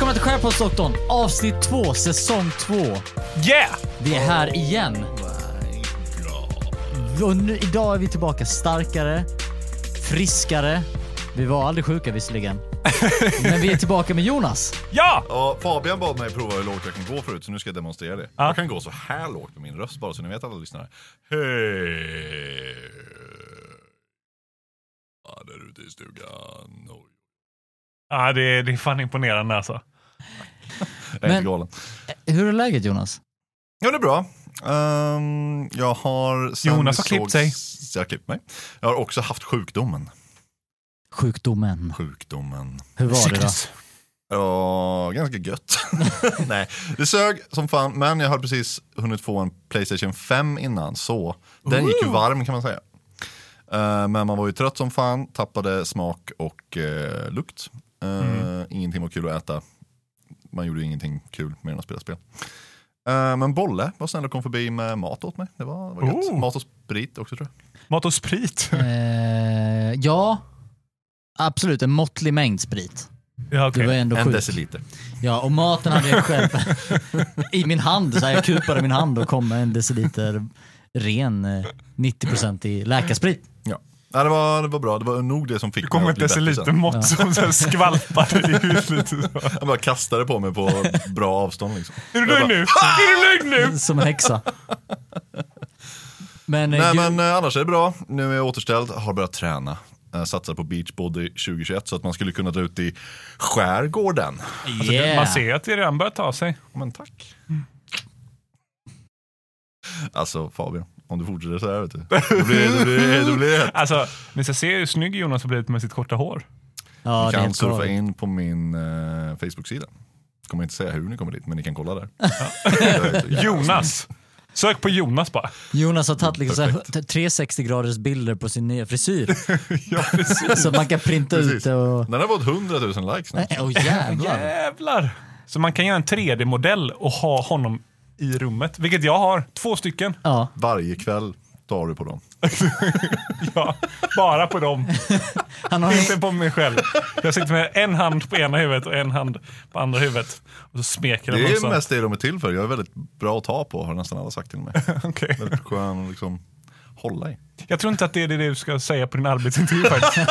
Rappoddsdoktorn, avsnitt 2, säsong 2. Yeah! Vi är här igen. Och nu, idag är vi tillbaka starkare, friskare. Vi var aldrig sjuka visserligen. Men vi är tillbaka med Jonas. Ja! Ja, Fabian bad mig prova hur lågt jag kan gå förut, så nu ska jag demonstrera det. Jag kan gå så här lågt med min röst bara, så ni vet alla lyssnare. Hej! Ja, där ute i stugan. Oj, Ja, Ah, det, är- det är fan imponerande alltså. Jag är Men- inte galen. Hur är läget Jonas? Ja, det är bra. Ehm, jag har... sen Jonas vi har klippt sågs- sig. Jag har klippt mig. Jag har också haft sjukdomen. Sjukdomen. Sjukdomen. Hur var det då? Ja, ganska gött. Nej, det sög som fan, men jag har precis hunnit få en Playstation 5 innan, så den gick ju varm kan man säga. Eh, men man var ju trött som fan, tappade smak och eh, lukt. Eh, Mm. Ingenting var kul att äta. Man gjorde ju ingenting kul mer än att spela spel. Eh, men Bolle var snäll och kom förbi med mat åt mig. Det var, det var gött. Oh. Mat och sprit också tror jag. Mat och sprit. Eh, ja, absolut en måttlig mänd sprit. Ja, Du okej. var ändå En sjuk. deciliter. Ja, och maten hade jag själv i min hand. Så här, jag kupade min hand och kom med en deciliter ren eh, 90% i läkarsprit. Ja. Nej, det, var, det var bra, det var nog det som fick Det kommer mig att ett bli bättre sen. deciliter mått som så här skvalpar i huvudet. lite så. Han bara kastade på mig på bra avstånd. Liksom. Är du Jag bara, nöjd nu? Är du nöjd nu? Som en häxa. Men, eh, Nej ju- men eh, annars är det bra. Nu är jag återställd, har börjat träna. Eh, Satsar på beachbody 2021 så att man skulle kunna dra ut i skärgården. yeah. Man ser att det redan börjar ta sig. Men tack. Mm. Alltså Fabian, om du fortsätter så här vet du. Då blir det blir, det blir hett. Alltså, ni ska se hur snygg Jonas har blivit med sitt korta hår. ja, Ni det är kan helt surfa galet. in på min eh, Facebook-sida. Kommer inte säga hur ni kommer dit, men ni kan kolla där. Jonas. Sök på Jonas bara. Jonas har tagit liksom så här, 360 graders bilder på sin nya frisyr. ja, precis. så att man kan printa ut precis. det och... Den har fått 100 000 likes nu. Åh jävlar. Jävlar. Så man kan göra en 3D-modell och ha honom i rummet. Vilket jag har. Två stycken. Ja. Varje kväll tar du på dem. Ja, bara på dem. Han har, Inte på mig själv. Jag sitter med en hand på ena huvudet och en hand på andra huvudet. Och så smeker den Det är också. mest det de är till för. Jag är väldigt bra att ta på har nästan alla sagt till mig. Okej. väldigt skön att liksom hålla i. Jag tror inte att det är det du ska säga på din arbetsintervju faktiskt.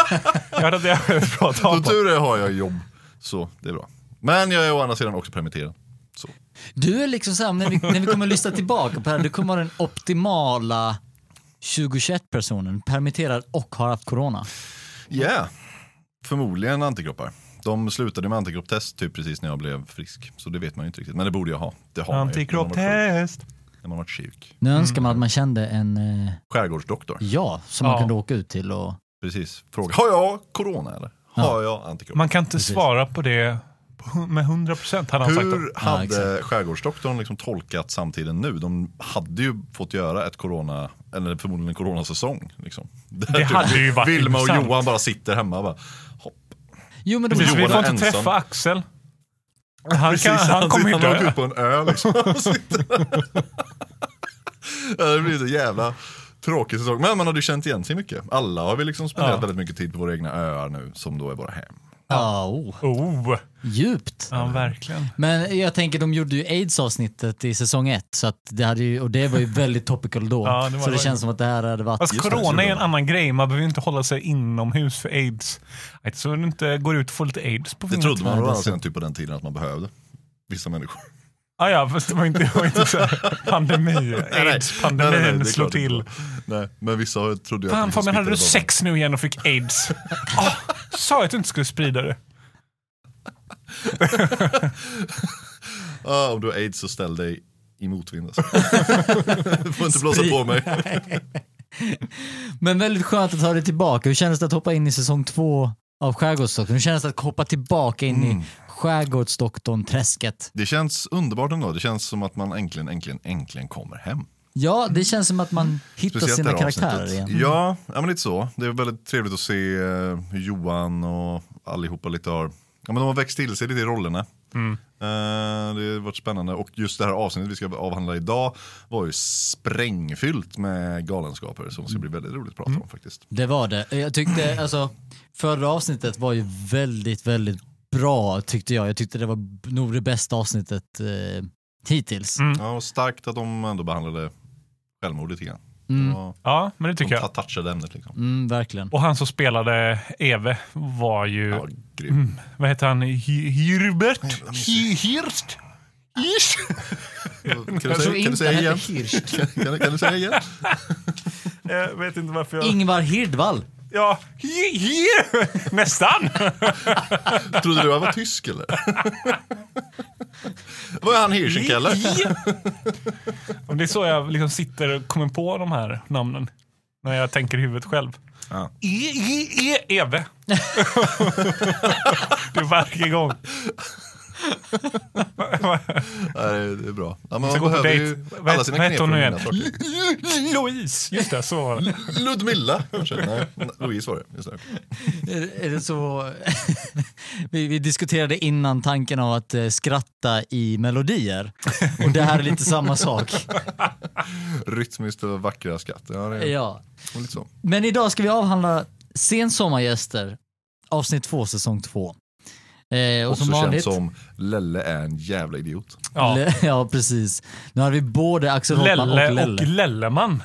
Jag hörde att det är ett bra tag Som på. Alltså, tur är har jag jobb, så det är bra. Men jag är å andra sidan också permitterad. Så. Du är liksom såhär, när vi, när vi kommer att lyssna tillbaka på det här, du kommer vara den optimala 2021-personen, permitterad och har haft corona. Yeah. Förmodligen antikroppar. De slutade med antikroppstest typ precis när jag blev frisk. Så det vet man ju inte riktigt. Men det borde jag ha. Det har man ju när man varit sjuk- Antikroppstest. När man varit sjuk. Nu önskar man att man kände en eh, Skärgårdsdoktor. ja som Ja. man kunde åka ut till och... Precis. Fråga, har jag corona eller? Har jag antikroppar? Man kan inte svara på det på- med 100 procent, hade han sagt. då. Hur hade exakt. skärgårdsdoktorn liksom tolkat samtiden nu? De hade ju fått göra ett corona, eller förmodligen en coronasäsong. Liksom. Det hade ju varit Vilma och intressant. Johan bara sitter hemma och bara, hopp. Jo men det Precis, var vi Johan får inte ensam. träffa Axel. Han, Precis, kan, han kommer ju sitter- han dö. åker upp på en ö liksom. och sitter där. ja, det blir så jävla tråkig säsong. Men man hade ju känt igen sig mycket. Alla har vi liksom spenderat Ja. väldigt mycket tid på våra egna öar nu, som då är våra hem. ja, oh, Oh, djupt. ja, verkligen. Men jag tänker de gjorde ju aids-avsnittet i säsong ett så att det hade ju, och det var ju väldigt topical då. så Ja, det var det det. Alltså- känns som att det här hade varit... Fast Just det, corona är en corona. annan grej. Man behöver ju inte hålla sig inomhus för aids. Nej, Så du inte går ut och får lite aids på Det fingret. trodde man å det är andra så. sidan typ på den tiden att man behövde. Vissa människor. Ah, ja, fast det var inte, det var inte så här pandemi. Aids-pandemin Nej, nej, nej, det är slår klart det till. inte var. Nej, men vissa har- trodde jag Fan de Fabian, hade du smittade bara. sex nu igen och fick aids? Ah, sa jag att du inte skulle sprida det? Ja, om du har aids så ställ dig i motvind alltså. Du får inte blåsa Sprid. på mig. Men väldigt skönt att ha det tillbaka. Hur kändes det att hoppa in i säsong två av Skärgårdsdoktorn? Hur kändes det att hoppa tillbaka in Mm. i Skärgårdsdoktorn-träsket? Det känns underbart ändå. Det känns som att man äntligen, äntligen, äntligen kommer hem. Ja, det känns som att man hittar sina det här karaktärer avsnittet. igen. Ja, ja, men lite så. Det är väldigt trevligt att se eh, hur Johan och allihopa lite har, ja men de har växt till sig lite i rollerna. Mm. Eh, det har varit spännande och just det här avsnittet vi ska avhandla idag var ju sprängfyllt med galenskaper som ska bli väldigt roligt att prata Mm. om faktiskt. Det var det. Jag tyckte, alltså, förra avsnittet var ju väldigt, väldigt bra tyckte jag. Jag tyckte det var nog det bästa avsnittet eh, hittills. Mm. Ja, och starkt att de ändå behandlade självmord lite grann. Mm. Ja, Ja, men det de tycker jag. touchade ämnet liksom. Mm, verkligen. Och han som spelade Eve var ju, Ja, grym. mm, vad heter han, Hi- Hirbert? Jävla mysig. Hi- Hirst? Hirst? Kan du säga, kan du säga igen? Kan, du- kan du säga igen? Jag vet inte varför jag... Ingvar Hirdvall. ja, hi, hi, nästan! Trodde du jag var tysk eller? Var är han Hirschenkeller? Hi- Och Det är så jag liksom sitter och kommer på de här namnen. När jag tänker i huvudet själv. Ja. E, e, e, Eve. det är varje gång. Ja, det det är bra. Ja, men Så man går på behöver ju dejt. Vad alla heter- sina vad knep heter för hon nu att igen? vinna saker. Louise! Just det, så var det. Ludmilla kanske? Nej, Louise var det. Just det. Är, är det så... vi, vi diskuterade innan tanken av att eh, skratta i melodier. Och det här är lite samma sak. Rytmiskt och vackra skratt. Ja, det är Ja. lite så. Men idag ska vi avhandla Sensommargäster, avsnitt två, säsong två. Eh, och Också som vanligt... känd som Lelle är en jävla idiot. Ja. Le- ja, precis. Nu hade vi både Axel Hoffman Lelle och och Lelle. Lelleman.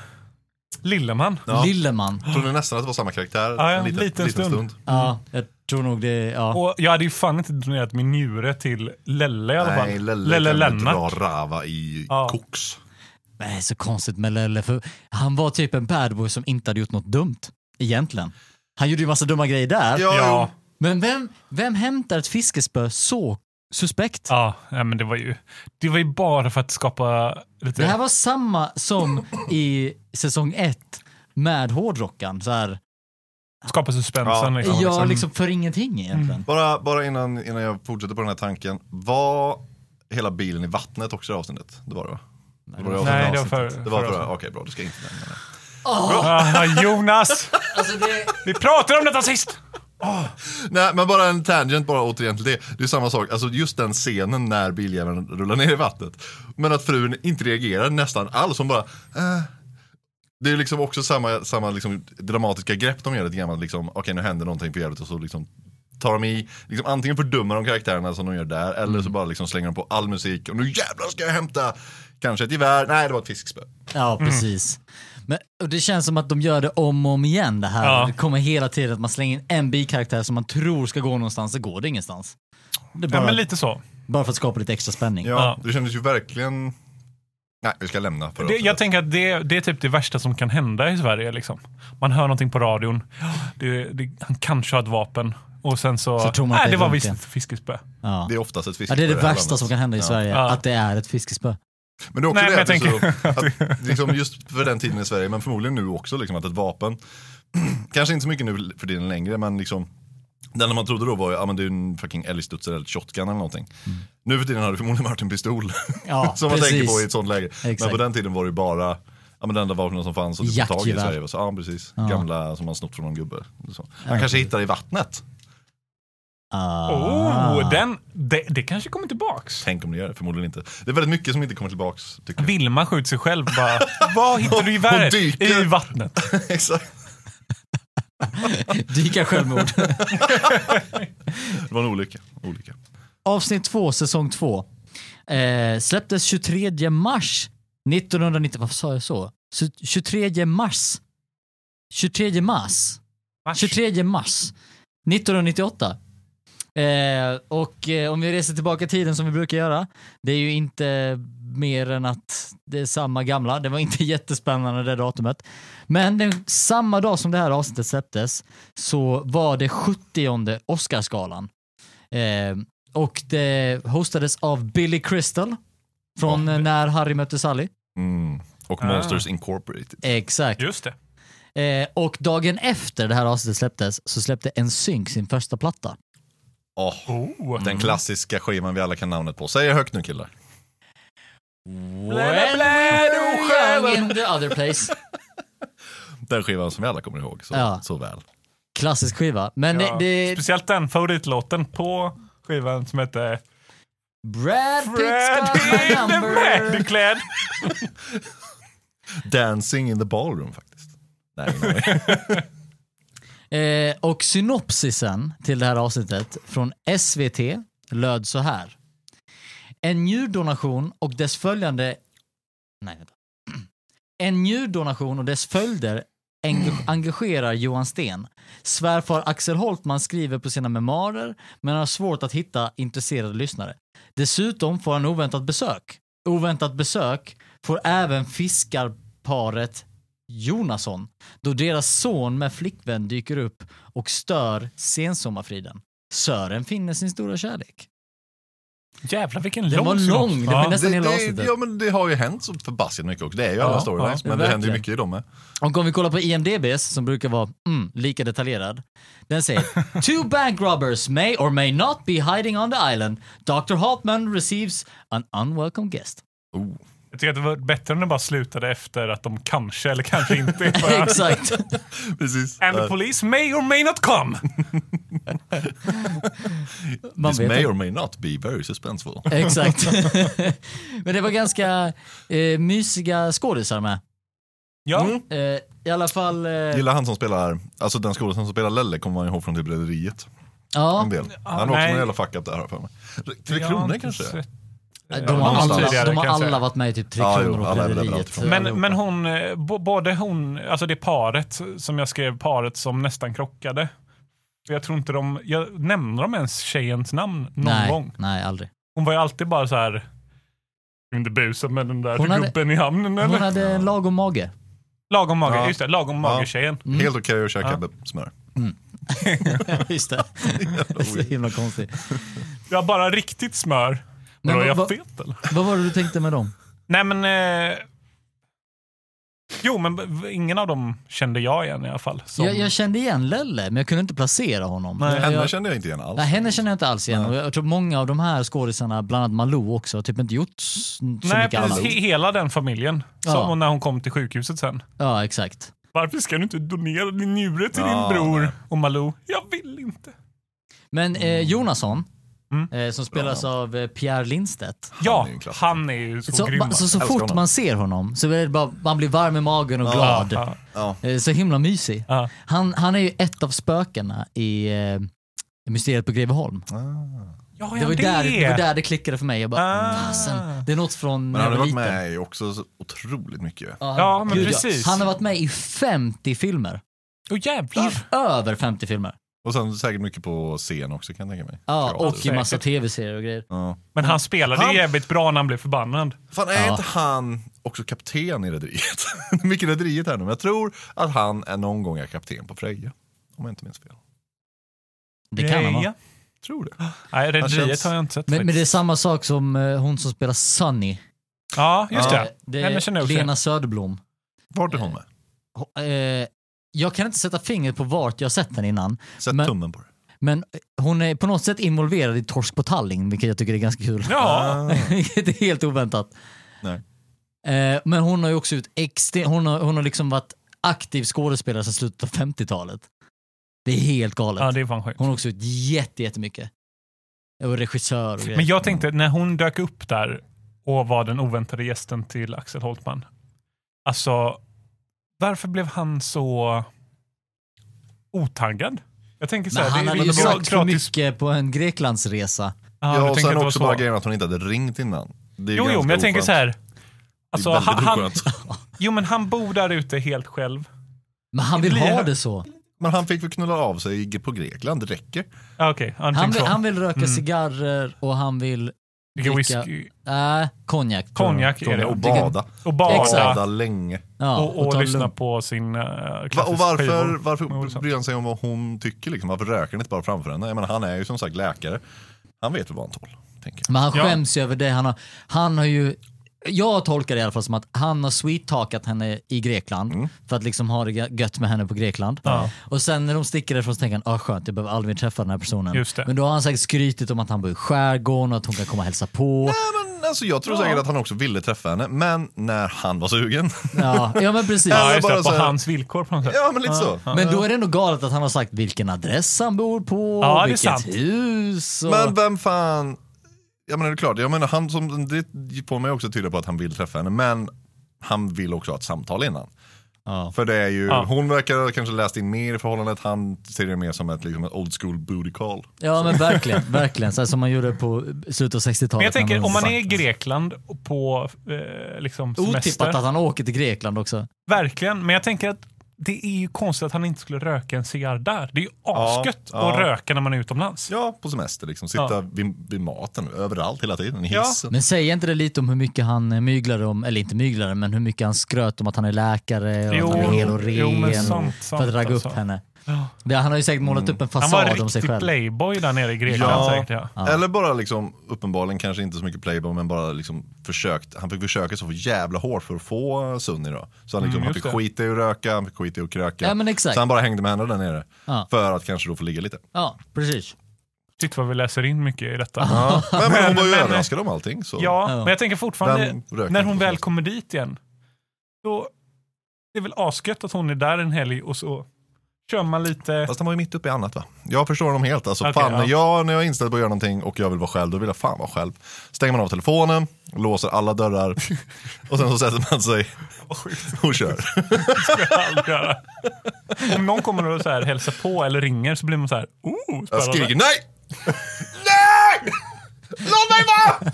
Lilleman. Ja. Lilleman. Trodde nästan att det var samma karaktär Ja, ja, en liten, liten, stund. Ja, jag tror nog det. Ja. Och jag hade ju fan inte donerat min njure till Lelle i alla fall. Nej, Lelle, Lelle kan väl dra Lennart. Rava i Ja. koks. Men Det är så konstigt med Lelle, för han var typ en bad boy som inte hade gjort något dumt. Egentligen. Han gjorde ju massa dumma grejer där. Ja, Ja, Men vem, vem hämtar ett fiskespö så suspekt? ja, ja, men det var ju Det var ju bara för att skapa lite... Det här var samma som i säsong ett med hårdrockan. Så här, skapa suspensen. Ja. liksom. ja, liksom för ingenting egentligen. Bara, bara innan, innan jag fortsätter på den här tanken. Var hela bilen i vattnet också i det avsnittet? Det var det va? Det var avsnittet. Nej, det var för- Det var förra förra. avsnittet. Okej, bra. Du ska inte nämna det. Ah, Jonas! Alltså det, Vi pratade om detta sist! Nej, men bara en tangent bara återigen till det. Det är samma sak, alltså just den scenen när biljäveln rullar ner i vattnet. Men att frun inte reagerar nästan alls, hon bara eh. Det är liksom också samma, samma liksom dramatiska grepp de gör lite grann. Liksom, Okej nu händer någonting på jävligt och så liksom tar de i, liksom, antingen fördummar de karaktärerna som de gör där eller Mm. så bara liksom slänger de på all musik och nu jävlar ska jag hämta kanske ett gevär, nej det var ett fiskspö. ja, precis. Men, och det känns som att de gör det om och om igen det här. Ja. Det kommer hela tiden att man slänger in en bikaraktär som man tror ska gå någonstans, så går det ingenstans. Det är Ja, bara, men lite så. bara för att skapa lite extra spänning. Ja, Ja. det kändes ju verkligen, nej vi ska lämna för Det, jag tänker att det, det är typ det värsta som kan hända i Sverige. Liksom. Man hör någonting på radion. Det, det, han kanske har ett vapen. Och sen så... Så tror man att nej, det det är var lugnt visst igen. ett fiskespö. Ja. det är oftast ett Ja, fiskespö. det är det i här värsta landet. som kan hända i Ja. Sverige, Ja. att det är ett fiskespö. Men det är också Nej, det men jag att, det är så, att liksom just för den tiden i Sverige, men förmodligen nu också, liksom, att ett vapen, kanske inte så mycket nu för tiden längre, men liksom det enda man trodde då var ju, ah, men det är en fucking älgstudsare eller ett shotgun eller någonting. Nu för tiden har det förmodligen varit en pistol. Mm. Ja, som man tänker på i ett sånt läge. Men Exakt. på den tiden var det ju bara, ja men det enda vapnen som fanns och typ på tag i i Jaktgevär. Sverige var så, ja precis, gamla som man snott från någon gubbe. Så. Han kanske hittar det i vattnet. Ah. Oh, den, det, det kanske kommer tillbaks. Tänk om det gör det, förmodligen inte. Det är väldigt mycket som inte kommer tillbaks, tycker jag. Vilma skjuter sig själv bara. Vad hittar du i Hon världen? dyker. I vattnet. Exakt. Dyka självmord. Det var en olycka. olycka. Avsnitt 2, säsong 2. Eh, släpptes 23 mars 1990. Varför sa jag så? Så 23 mars. 23 mars. 23 mars 1998. Eh, och eh, om vi reser tillbaka i tiden som vi brukar göra, det är ju inte mer än att det är samma gamla. Det var inte jättespännande det datumet. Men den, samma dag som det här avsnittet släpptes så var det 70 Oscarsgalan. Eh, och det hostades av Billy Crystal från eh, När Harry mötte Sally. Mm. Och Ah. Monsters Incorporated. Exakt. Just det. Eh, och dagen efter det här avsnittet släpptes så släppte NSYNC sin första platta. Åh, Oh. Mm. Den klassiska skivan vi alla kan namnet på. Säg det högt nu killar. blä, blä, du själen. in the other place. Den skivan som vi alla kommer ihåg så, Ja. så väl. Klassisk skiva. Men Ja. det, det Speciellt den favoritlåten på skivan som heter Brad Brad Pitt's got my in the number. Red Clad. Dancing in the ballroom faktiskt. Nej, nej. Eh, och synopsisen till det här avsnittet från SVT löd så här. En njurdonation och dess följande... Nej, vänta. En njurdonation och dess följder eng- engagerar Johan Sten. Svärfar Axel Holtman skriver på sina memoarer men har svårt att hitta intresserade lyssnare. Dessutom får han oväntat besök. Oväntat besök får även fiskarparet Jonasson då deras son med flickvän dyker upp och stör sensommarfriden. Sören finner sin stora kärlek. Jävlar vilken Den lång var synopsis. lång, den var nästan- Det, hela det, avsnittet. ja, men det har ju hänt så förbaskat mycket och det är ju alla Ja, storylines. ja, men det händer ju verkligen. mycket i dem med. Och om vi kollar på IMDBs, som brukar vara mm, lika detaljerad. Den säger “Two bank robbers may or may not be hiding on the island. Dr. Hartman receives an unwelcome guest”. Oh. Jag tycker att det var bättre om det bara slutade efter att de kanske eller kanske inte är på ön. Exakt. Precis. And the Eh, police may or may not come. Man This vet may inte. or may not be very suspenseful. Exakt. Men det var ganska eh, mysiga skådisar med. Ja, Mm. Eh, I alla fall... Eh, Gillar han som spelar, alltså den skådespelaren som spelar Lelle kommer man ihåg från typ Rederiet. ja, En del. han har också nej. någon jävla fuck up där har jag för mig. Tre Jag har Kronor inte kanske? sett- de har någonstans. alla, de Eh, Tidigare, har kan jag alla säga. varit med i typ Tre Ja, jo, Kronor och alla är väl Rederiet. överallt. Men, men hon, eh, bo- både hon, alltså det paret som jag skrev, paret som nästan krockade. Jag tror inte de, jag nämner de ens tjejens namn någon nej, gång. Nej, aldrig. Hon var ju alltid bara så här, inte busa med den där Hon hade- gubben i hamnen eller? Hon hade en lagom mage. Lagom mage, Ja. just det, lagom mage-tjejen. Mm. Helt okej att käka smör. Just det. Så himla konstigt. Jag har bara riktigt smör. Men Men är vad- jag vad- fet eller? Vad var det du tänkte med dem? Nej men... Eh, jo men b- b- ingen av dem kände jag igen i alla fall. Som, Jag, jag kände igen Lelle, men jag kunde inte placera honom. Nej. jag, Henne jag, kände jag inte igen alls. nej, henne känner jag inte alls igen. Och jag tror många av de här skådisarna, bland annat Malou också, har typ inte gjort s- så nej mycket precis, annat. he, hela den familjen. Ja. Som hon- när hon kom till sjukhuset sen. Ja, exakt. Varför ska du inte donera din njure till Ja, din bror? nej. Och Malou, jag vill inte. Men eh, Jonasson, Mm. eh, som spelas av eh, Pierre Lindstedt. Ja, är ju en klassiker. han är ju så, Så, grym. ba, så, så Älskar fort honom. man ser honom så är det bara, man blir varm i magen och Ja, glad. ja, Ja. Eh, Så himla mysig. ja. Han, han är ju ett av spökena i eh, Mysteriet på Greveholm. Mm. Ja, Det var, ju ja, där, det var där det klickade för mig. Jag bara, Ah. fasen, det är något från Men när jag han var har varit liten. med i också så otroligt mycket. Ja, Ja, men gud, precis. Han har varit med i 50 filmer. Åh, jävlar. I över 50 filmer. Och sen säkert mycket på scen också kan jag tänka mig. Ja, Teater. och i massa tv-serier och grejer. Ja. Men han spelade Han- ju jävligt bra när han blev förbannad. Fan är Ja. inte han också kapten i Rederiet? Det är mycket Rederiet här nu, men jag tror att han är någon gång är kapten på Freja. Om jag inte minns fel. Det kan han vara. Ja. Tror det. Nej, Rederiet känns- har jag inte sett. Men, men det är faktiskt. samma sak som eh, hon som spelar Sunny. Ja, just Ja. det. Det Nej, men känner är jag också Lena Söderblom. Vart är hon med? Ho- eh, Jag kan inte sätta fingret på vart jag har sett henne innan, Sätt men- tummen på det. men hon är på något sätt involverad i Torsk på Tallinn, vilket jag tycker är ganska kul. Ja, Ah. Vilket är helt oväntat. Nej. Eh, Men hon har ju också ut extre- hon, har, hon har liksom varit aktiv skådespelare sedan slutet av 50-talet. Det är helt galet. ja det är fan sjukt. Hon har också ut jätte, jättemycket. Och regissör och grejer. Men jag tänkte, när hon dök upp där och var den oväntade gästen till Axel Holtman. Alltså, varför blev han så otaggad? Jag tänker så Men här, han det är hade ju lite sagt för gratis- mycket på en Greklandsresa. Ja, Ja, jag och tänker att sen det var också så. bara grejen att hon inte hade ringt innan. Det är Jo, jo, ganska men jag tänker oskönt. så här. Det är Alltså, väldigt han, han, oskönt. jo, men han bor där ute helt själv. Men han vill Det blir- ha det så. Men han fick väl knulla av sig på Grekland, det räcker. Ja, Ah, Okej, han, Han tänker vill, så. han vill röka Mm. cigarrer och han vill... Dricka dricka- whisky, Äh, konjak. tror jag. konjak är det. Och Och, bada. bada. Exakt. Bada länge. Ja, Och, och, ta en lyssna lugn. på sin uh, Va, och varför, med varför Olsson. bryr han sig om vad hon tycker? Liksom? Varför röker han inte bara framför henne? Jag menar, han är ju som sagt läkare. Han vet väl vad han tål. Tänker jag. Men han Ja. skäms ju över det. Han har, han har ju... Jag tolkar det i alla fall som att han har sweet-talkat henne i Grekland för att liksom ha det gö- gött med henne på Grekland. Ja. Och sen när de sticker därifrån så tänker han, ah skönt, jag behöver aldrig mer träffa den här personen. Just det. Men då har han säkert skrytit om att han bor i skärgården och att hon kan komma och hälsa på. Nej, men, alltså, jag tror säkert att han också ville träffa henne, men när han var sugen. Ja, ja men precis. Ja, Eller just det, bara på så här- hans villkor på något sätt. ja, men lite så. Men då är det ändå galet att han har sagt vilken adress han bor på, Ja, det är vilket sant. hus. Och... Men vem fan... Jag menar, det är klart, jag menar, han som, det får mig också tyda på att han vill träffa henne, men han vill också ha ett samtal innan. Ja. För det är ju, Ja. hon verkar ha kanske läst in mer i förhållandet, han ser det mer som ett, liksom, ett old school booty call. ja, men verkligen. verkligen. Så här som man gjorde på slutet av 60-talet. Men jag tänker när om man är i Grekland och på eh, liksom semester. Otippat alltså. att han åker till Grekland också. Verkligen, men jag tänker att det är ju konstigt att han inte skulle röka en cigarr där. Det är ju asgött Ja, att ja. röka när man är utomlands. Ja, på semester liksom. Sitta Ja. vid, vid maten, överallt hela tiden, i Ja. hissen. Men säger inte det lite om hur mycket han eh, myglade om, eller inte myglade, men hur mycket han skröt om att han är läkare och Jo, att han är hel och ren jo, men och- sant, för att sant ragga alltså. upp henne. Ja. Det, han har ju säkert målat upp en Han var fasad en om sig riktig själv. playboy där nere i Grekland Ja. säkert. Ja. Ja. Eller bara liksom, uppenbarligen kanske inte så mycket playboy, men bara liksom försökt. Han fick försöka så jävla hårt för att få Sunny då. Så han, liksom, han Mm, just fick det. skita i att röka, han fick skita i att kröka. Ja, men exakt. Så han bara hängde med henne där nere. Ja. För att kanske då få ligga lite. Ja, precis. Titta vad vi läser in mycket i detta. Ja. Men, men hon var ju Men- överraskad om allting. Så. Ja, Ja. men jag tänker fortfarande, Vem röker när inte hon på väl semester? kommer dit igen, då det är väl asgött att hon är där en helg och så kör man lite, Fast han var ju mitt uppe i annat va? Jag förstår honom helt. Alltså, Okej, fan, ja. när, jag, när jag är inställd på att göra någonting och jag vill vara själv, då vill jag fan vara själv. Stänger man av telefonen, låser alla dörrar och sen så sätter man sig och kör. allt göra. Om någon kommer och så här hälsar på eller ringer så blir man så här, oh, Jag spännande." skriker nej! Nej! Låt mig vara!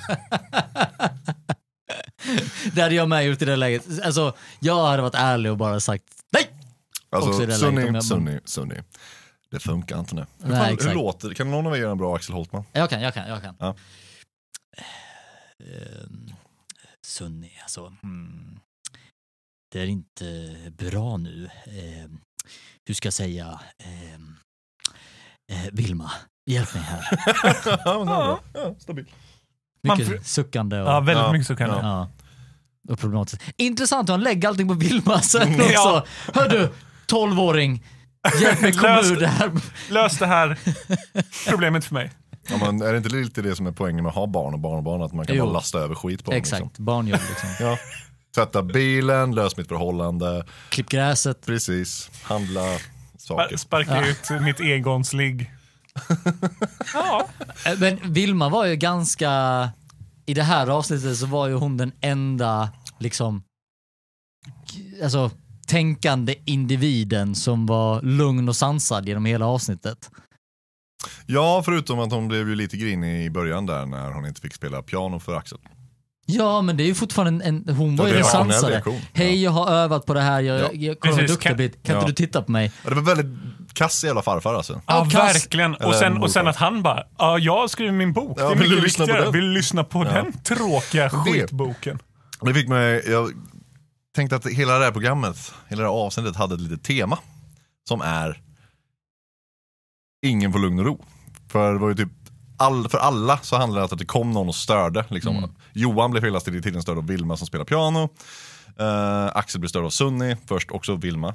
Det hade jag med gjort i det läget. Alltså, jag hade varit ärlig och bara sagt nej! Också i det Alltså, läget, om Sunny, jag- Sunny, Sunny. Det funkar inte nu. Hur, Nej, fan, hur exakt. låter det? Kan någon av er göra en bra Axel Holtman? Jag kan, jag kan, jag kan. Ja. Ehm, Sunny, alltså. Mm, det är inte bra nu. Ehm, hur ska jag säga? Ehm, eh, Vilma, hjälp mig här. ja, men det är bra. ja, stabil. Man Mycket fr- suckande och, Ja, ja. väldigt Ja, mycket så kan det. och problematiskt. Intressant hur han lägger allting på Vilma sen också. Ja. Hör du, tolvåring. Hjälp mig komma Lös- ur det här. Lös det här problemet för mig. Ja, men är det inte lite det som är poängen med att ha barn och barn och barn? Att man kan Jo. bara lasta över skit på dem. Liksom. Exakt, barnjobb liksom. Ja. Tvätta bilen, lös mitt förhållande, Klipp gräset. precis, handla Spa- saker. Sparka ut mitt egonsligg. Ja, Eh, Men Vilma var ju ganska, i det här avsnittet så var ju hon den enda liksom, k- alltså tänkande individen som var lugn och sansad genom hela avsnittet. Ja, förutom att hon blev ju lite grinig i början där när hon inte fick spela piano för Axel. Ja men det är ju fortfarande en, en hon var det ju är den en rationell sansade. reaktion. Hej jag har övat på det här, jag, Ja. jag kollar hur duktig Precis, jag kan- blivit. Kan inte Ja. du titta på mig? Ja, det var väldigt kass jävla farfar alltså. ja Ja, kass. verkligen. Och Eller sen, morfar. och sen att han bara, ja, jag skriver min bok. Ja, det är vill mycket du lyssna på viktigare. den? Vill du lyssna på den tråkiga skitboken? Det fick mig, jag tänkte att hela det här programmet, hela det här avsnittet hade ett litet tema. Som är ingen får lugn och ro. För det var ju typ, all, för alla så handlade det om att det kom någon och störde. Liksom. Mm. Johan blev hela tiden störd av Vilma som spelar piano. Eh, Axel blir störd av Sunny, först också Vilma.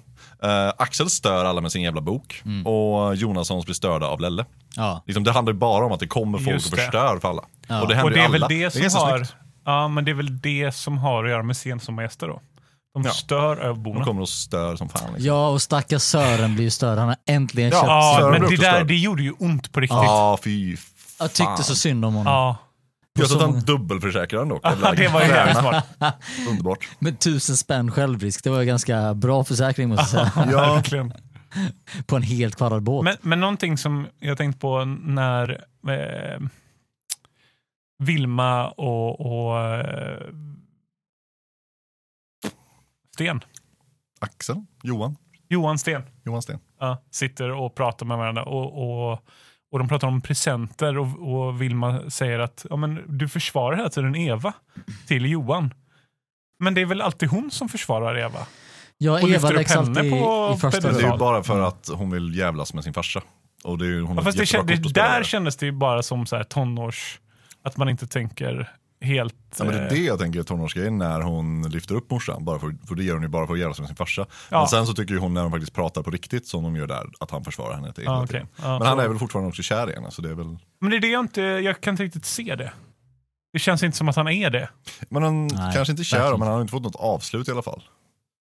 Eh, Axel stör alla med sin jävla bok. Mm. Och Jonassons blir störda av Lelle. Ja. Liksom, det handlar ju bara om att det kommer folk Just och det. förstör för alla. Ja. Och det händer Och det ju är väl alla. det som ganska har... snyggt. Ja, men det är väl det som har att göra med sensommargäster då. De Ja. stör öborna. De kommer och stör som fan. Liksom. Ja och stackars Sören blir ju störd, han har äntligen Ja. köpt. Ja, Sören men blir det också där störd. det gjorde ju ont på riktigt. Ja, Ja, fy fan. Jag tyckte så synd om honom. Jag tror att så han många- dubbelförsäkrade den dock. det var ju jävligt smart. Underbart. Men tusen spänn självrisk, det var ju ganska bra försäkring måste jag säga. Ja. Verkligen. på en helt kvadrad båt. Men, men någonting som jag tänkt på när eh, Vilma och, och eh, Sten, Axel, Johan, Johan Sten Johan Sten. ja, sitter och pratar med varandra och, och, och de pratar om presenter och, och Vilma säger att ja, men du försvarar hela tiden Eva till Johan. Men det är väl alltid hon som försvarar Eva? Ja, Och lyfter Eva upp läggs alltid henne i, på i första Det är ju rad. pedestalen. bara för att hon vill jävlas med sin farsa. Och det är ju hon Ja, har fast det, jättebra kän- kort det att spela där med. kändes det ju bara som så här tonårs... Att man inte tänker helt... Ja, men det är eh, det jag tänker är tonårsgrejen när hon lyfter upp morsan. Bara för, för det gör hon ju bara för att jävlas med sin farsa. Ja. Men sen så tycker ju hon när de faktiskt pratar på riktigt som de gör där att han försvarar henne. Till, Ja, hela okej. tiden. Ja. Men han är väl fortfarande också kär i henne. Så det är väl... Men det är det jag inte, jag kan inte riktigt se det. Det känns inte som att han är det. Men han Nej, kanske inte kär verkligen. men han har inte fått något avslut i alla fall.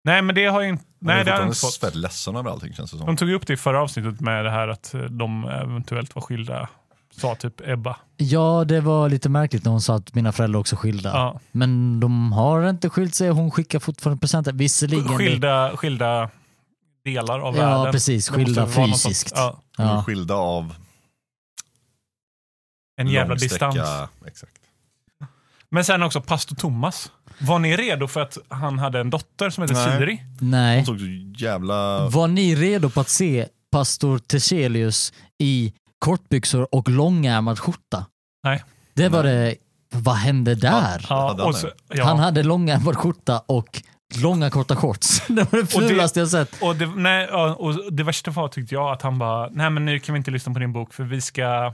Nej, men det har jag inte, han nej, är det har jag fortfarande inte fått. fett ledsen över allting känns det som. De tog ju upp det i förra avsnittet med det här att eh, de eventuellt var skilda sa typ Ebba. Ja, det var lite märkligt när hon sa att mina föräldrar också är skilda. Ja. Men de har inte skilt sig och hon skickar fortfarande presenter. Visserligen. Skilda, skilda delar av Ja, världen. precis. Det måste Skilda vara något sånt. fysiskt. Ja, Mm. De är Ja. skilda av en jävla lång sträcka. distans. Exakt. Men sen också pastor Thomas. Var ni redo för att han hade en dotter som heter Nej. Siri? Hon Nej. såg så jävla... Var ni redo på att se pastor Teselius i kortbyxor och långärmad skjorta? Nej. Det var det. Vad hände där? Hade han och det? så, ja. Han hade långärmad skjorta och långa korta shorts. Det var det Och det- fulaste jag sett. och, det, nej, ja, och det värsta var tyckte jag att han bara, nej men nu kan vi inte lyssna på din bok för vi ska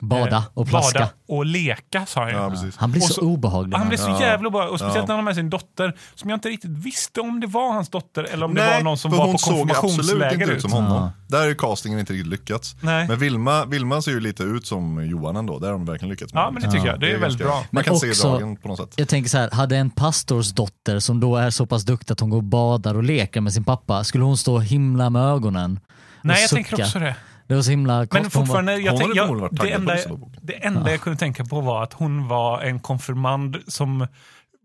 Bada eh, och plaska. bada och leka, sa han ju. Ja, precis. Han blir Och så, så- obehaglig. Han Han blev så Ja. jävla obehaglig. Och speciellt Ja. när han har med sin dotter, som jag inte riktigt visste om det var hans dotter eller om det Nej, var någon som för var hon på såg absolut inte konfirmationsläger. ut Ut. som honom. Där har ju castingen inte riktigt lyckats. Nej. Men Vilma, Vilma ser ju lite ut som Johan ändå. Där har de verkligen lyckats. med Ja, men det tycker jag. Det är ju väldigt ganska- bra. Man Men kan se också- dragen på något sätt. Jag tänker så här, hade en pastors dotter som då är så pass duktig att hon går och badar och leker med sin pappa, skulle hon stå och himla med ögonen? och Nej, jag sucka? tänker också det. Det var så himla Men Hon var- fortfarande, jag hon hade tänk, jag, förmodligen varit det taggad på enda, att lyssna på boken. det enda jag kunde tänka på var att hon var en konfirmand som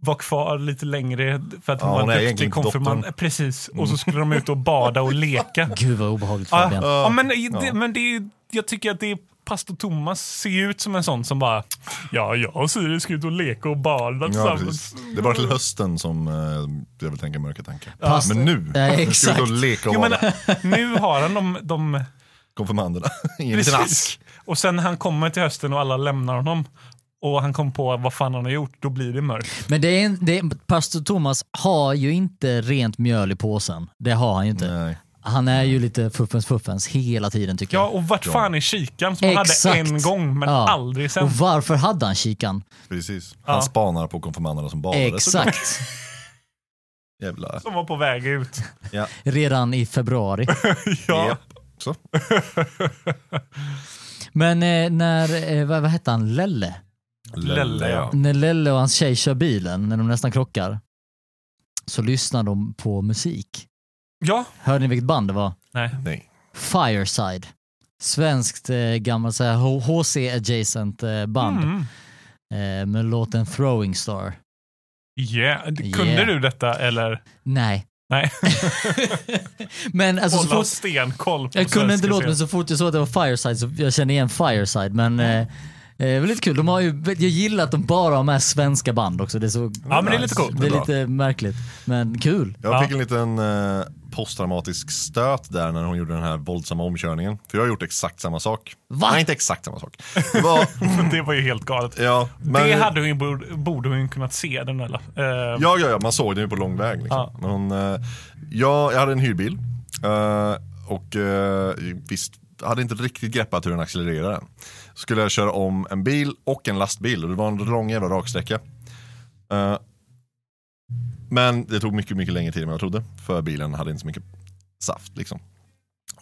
var kvar lite längre för att hon Ja, var hon är en duktig egentligen konfirmand. dottern. Mm. Precis, och så skulle de ut och bada och leka. Gud vad obehagligt Ja, Fabian. ja, men, det, men det, är ju- jag tycker att det är pastor Thomas ser ju ut som en sån som bara Ja, jag och Siri ska ut och leka och bada Ja, tillsammans. precis. Det är bara till hösten som eh, jag vill tänka mörka tankar. Fast- Men nu Nej, nu ska vi exakt. gå och leka och Jo, men, vara nu har han de, de konfirmanderna i en liten ask. precis. Och sen han kommer till hösten och alla lämnar honom och han kom på vad fan han har gjort, då blir det mörkt. Men det är, en- det är, pastor Thomas har ju inte rent mjöl i påsen. Det har han ju inte. Nej. Han är ju lite fuffens fuffens hela tiden tycker Ja, jag. och vart fan är kikan som han Exakt. hade en gång men Ja. aldrig sen? Och varför hade han kikan? Precis. Han Ja. spanar på konfirmanderna som badade. Exakt. Så jävla... Som var på väg ut. Ja. Redan i februari. Ja. Japp. Så. Men eh, när, eh, vad, vad hette han, Lelle? Lelle, ja. När Lelle och hans tjej kör bilen, när de nästan krockar, så lyssnar de på musik. ja. Hörde ni vilket band det var? Nej. Nej. Fireside. Svenskt eh, gammalt så här H- HC adjacent eh, band Mm. eh, med låten Throwing Star. Yeah. Kunde Yeah. du detta eller? Nej. Nej. Men alltså så Hålla fort, stenkoll på jag kunde inte svenska låta men så scener. fort jag såg att det var Fireside så jag kände igen Fireside Mm. men eh, eh, det var lite kul. De har ju, jag gillar att de bara har med svenska band också. Det är så, Ja, men det är lite coolt. det är bra. lite märkligt. Men kul. Jag Ja. fick en liten eh, posttraumatisk stöt där när hon gjorde den här våldsamma omkörningen. För jag har gjort exakt samma sak. Va? Nej, inte exakt samma sak. Det var, Det var ju helt galet. ja, men, det hade hon ju, borde- borde hon ju kunnat se den eller? Eh, Ja, ja, ja, man såg den ju på lång väg. Liksom. Ja. Men hon, eh, jag, jag hade en hyrbil eh, och eh, visst, hade inte riktigt greppat hur den accelererade. än. Skulle jag köra om en bil och en lastbil och det var en lång jävla raksträcka. Eh, men det tog mycket, mycket längre tid än vad jag trodde. För bilen hade inte så mycket saft liksom.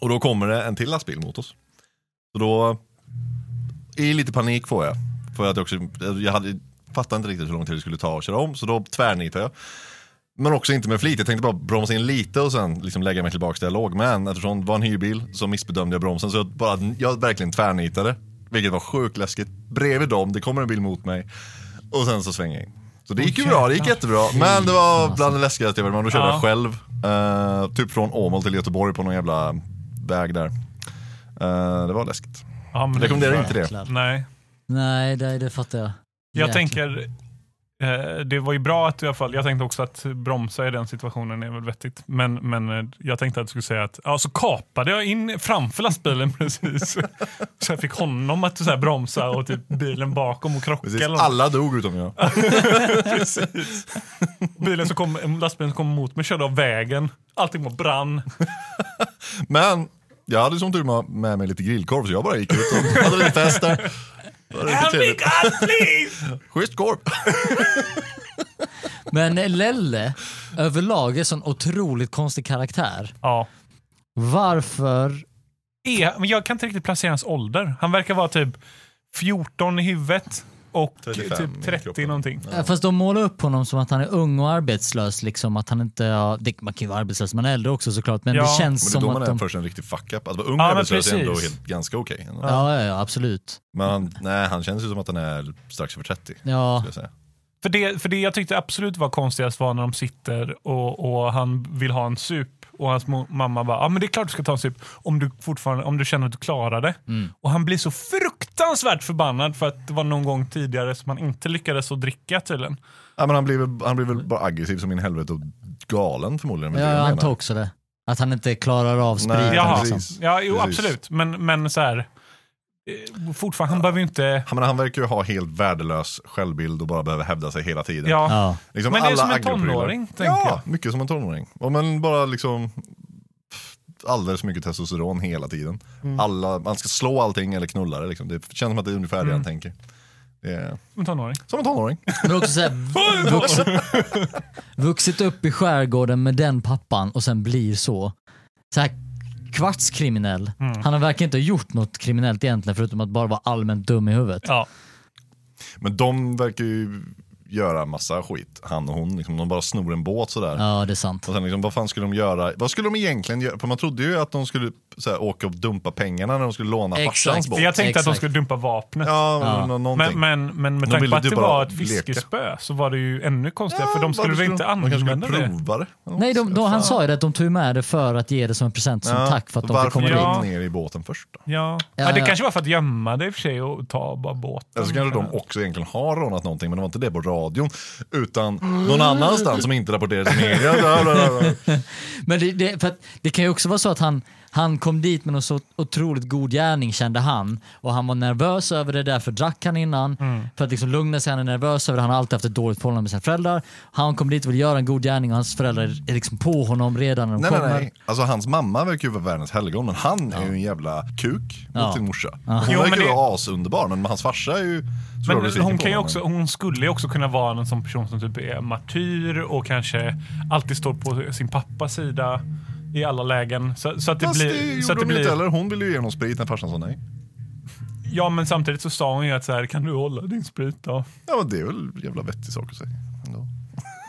Och då kommer det en till lastbil mot oss. Så då, i lite panik får jag. För att jag också, jag hade, fattade inte riktigt hur lång tid det skulle ta att köra om. Så då tvärnitar jag. Men också inte med flit. Jag tänkte bara bromsa in lite och sen liksom lägga mig tillbaka där jag låg. Men eftersom det var en hyrbil så missbedömde jag bromsen. Så jag, bara, jag verkligen tvärnitade. Vilket var sjukt läskigt. Bredvid dem, det kommer en bil mot mig. Och sen så svänger jag in. Så det gick ju bra, det gick jättebra. Men det var bland det läskigaste jag varit med om. Då körde Ja. jag själv. eh, typ från Åmål till Göteborg på någon jävla väg där. Eh, det var läskigt. ja, men Rekommenderar inte det. Jäklar. Nej. Nej, det, det fattar jag. Jag Jäklar. tänker, eh, det var ju bra att du i alla fall, jag tänkte också att bromsa i den situationen är väl vettigt. Men, men eh, jag tänkte att du skulle säga att, ja så kapade jag in framför lastbilen precis. så jag fick honom att så här bromsa och typ bilen bakom och krocka. Precis. Eller något. Alla dog utom jag. bilen som kom, lastbilen som kom mot mig körde av vägen. Allting var brann. Men jag hade som tur var med mig lite grillkorv så jag bara gick ut och hade lite fest där. Det var riktigt trevligt. allt liv! Schysst korv. Men Lelle överlag är en sån otroligt konstig karaktär. Ja. Varför? Är, men jag kan inte riktigt placera hans ålder. Han verkar vara typ 14 i huvudet. och 35 typ i 30 kroppen. någonting. Ja. Fast de målar upp honom som att han är ung och arbetslös. Liksom, att han inte, har- det, man kan ju vara arbetslös man är äldre också såklart, men Ja, det Men känns det är då som man att är de... först en riktig fuck-up. Att vara ung Ja, men arbetslös är ändå precis. helt, ganska okej. ändå. Ja, ja, ja, absolut. Men han, nej, han känns ju som att han är strax över 30. Skulle Ja, jag säga. För det, för det jag tyckte absolut var konstigast var när de sitter och, och han vill ha en sup och hans mo- mamma bara, ja ah, men det är klart du ska ta en sup om du fortfarande, om du känner att du klarar det. Mm. Och han blir så fruktansvärt förbannad för att det var någon gång tidigare som han inte lyckades att dricka tydligen. Ja, men han, blir väl, han blir väl bara aggressiv som in i helvete och galen förmodligen. ja, det är det jag jag antar menar. också det. Att han inte klarar av spriten. Nej, Jaha, liksom. precis. ja jo Precis. absolut, men, men så här, eh, fortfarande, han behöver ju inte, Han, men han verkar ju ha helt värdelös självbild och bara behöver hävda sig hela tiden. ja. Ja. Liksom Men det är alla som en agroprylar. tonåring, tänker Ja, mycket som en tonåring. Och men bara liksom pff, alldeles för mycket testosteron hela tiden. Mm. Alla, man ska slå allting eller knulla det. Liksom. Det känns som att det är ungefär det Mm. han tänker. Det är, jag. En tonåring. som en tonåring. Men också så här, vuxit, vuxit upp i skärgården med den pappan och sen blir så. Så här kvartskriminell. Han har verkligen inte gjort något kriminellt egentligen förutom att bara vara allmänt dum i huvudet. Ja. Men de verkar ju göra massa skit, han och hon. Liksom, de bara snor en båt sådär. Ja, det är sant. Och sen liksom, vad fan skulle de göra? Vad skulle de egentligen göra? För man trodde ju att de skulle så här, åka och dumpa pengarna när de skulle låna Exakt. farsans båt. Jag tänkte att de Exakt. skulle dumpa vapnet. Ja, Ja. nå- någonting. Men, men, men med De tanke ville på att ju det bara var ett leka. fiskespö så var det ju ännu konstigare Ja, för de skulle varför väl inte de kanske använda skulle det? prova det. Eller Nej, de, något. de, han sa ju att de tog med det för att ge det som en present som Ja, tack för att de så fick varför komma gick dit. Ja. de ner i båten först då? Ja. Ja, Ja, det ja. kanske var för att gömma det i och för sig och ta bara båten. Eller så kanske de också egentligen har rånat någonting, men det var inte det på radion, utan någon annanstans som inte rapporterades i media. Bla, bla, bla. Men det, det, för att det kan ju också vara så att han, han kom dit med någon så otroligt god gärning kände han. Och han var nervös över det, därför drack han innan. Mm. För att liksom lugna sig, han är nervös över det. Han har alltid haft ett dåligt förhållande med sina föräldrar. Han kom dit och ville göra en god gärning och hans föräldrar är liksom på honom redan när de Nej, nej, kommer. nej. Alltså hans mamma verkar ju vara världens helgon, men han är ju en jävla kuk mot Ja. sin morsa. Hon Jo, verkar men ju det- vara asunderbar, men hans farsa är ju såklart Men besviken hon, på kan ju honom. också, hon skulle ju också kunna vara en sån person som typ är martyr och kanske alltid står på sin pappas sida i alla lägen. Så, så att det Fast det blir... gjorde Så att det hon ju inte blir heller. Hon ville ju ge honom sprit när farsan sa nej. ja, men samtidigt så sa hon ju att så här, kan du hålla din sprit då? Ja, men det är väl en jävla vettig sak att säga. Ändå.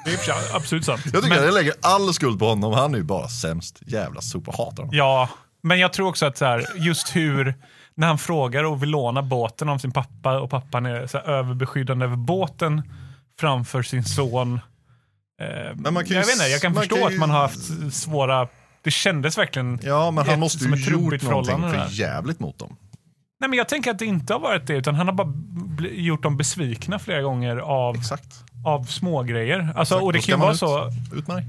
Det är i och för sig absolut sant. Jag tycker Men- att jag lägger all skuld på honom. Han är ju bara sämst. Jävla sopa. Hatar honom. Ja, men jag tror också att så här, just hur, när han frågar och vill låna båten av sin pappa och pappan är så här, överbeskyddande över båten framför sin son. Eh, man kan ju jag vet inte, jag kan man förstå kan ju- att man har haft svåra, det kändes verkligen. Ja, men han Ett- måste som ju ett gjort trubbigt någonting förhållande för där. jävligt mot dem. Nej men jag tänker att det inte har varit det utan han har bara bli- gjort dem besvikna flera gånger av, Exakt. av smågrejer. Alltså, Exakt, och det då kan ju ska vara man så, Ut med dig.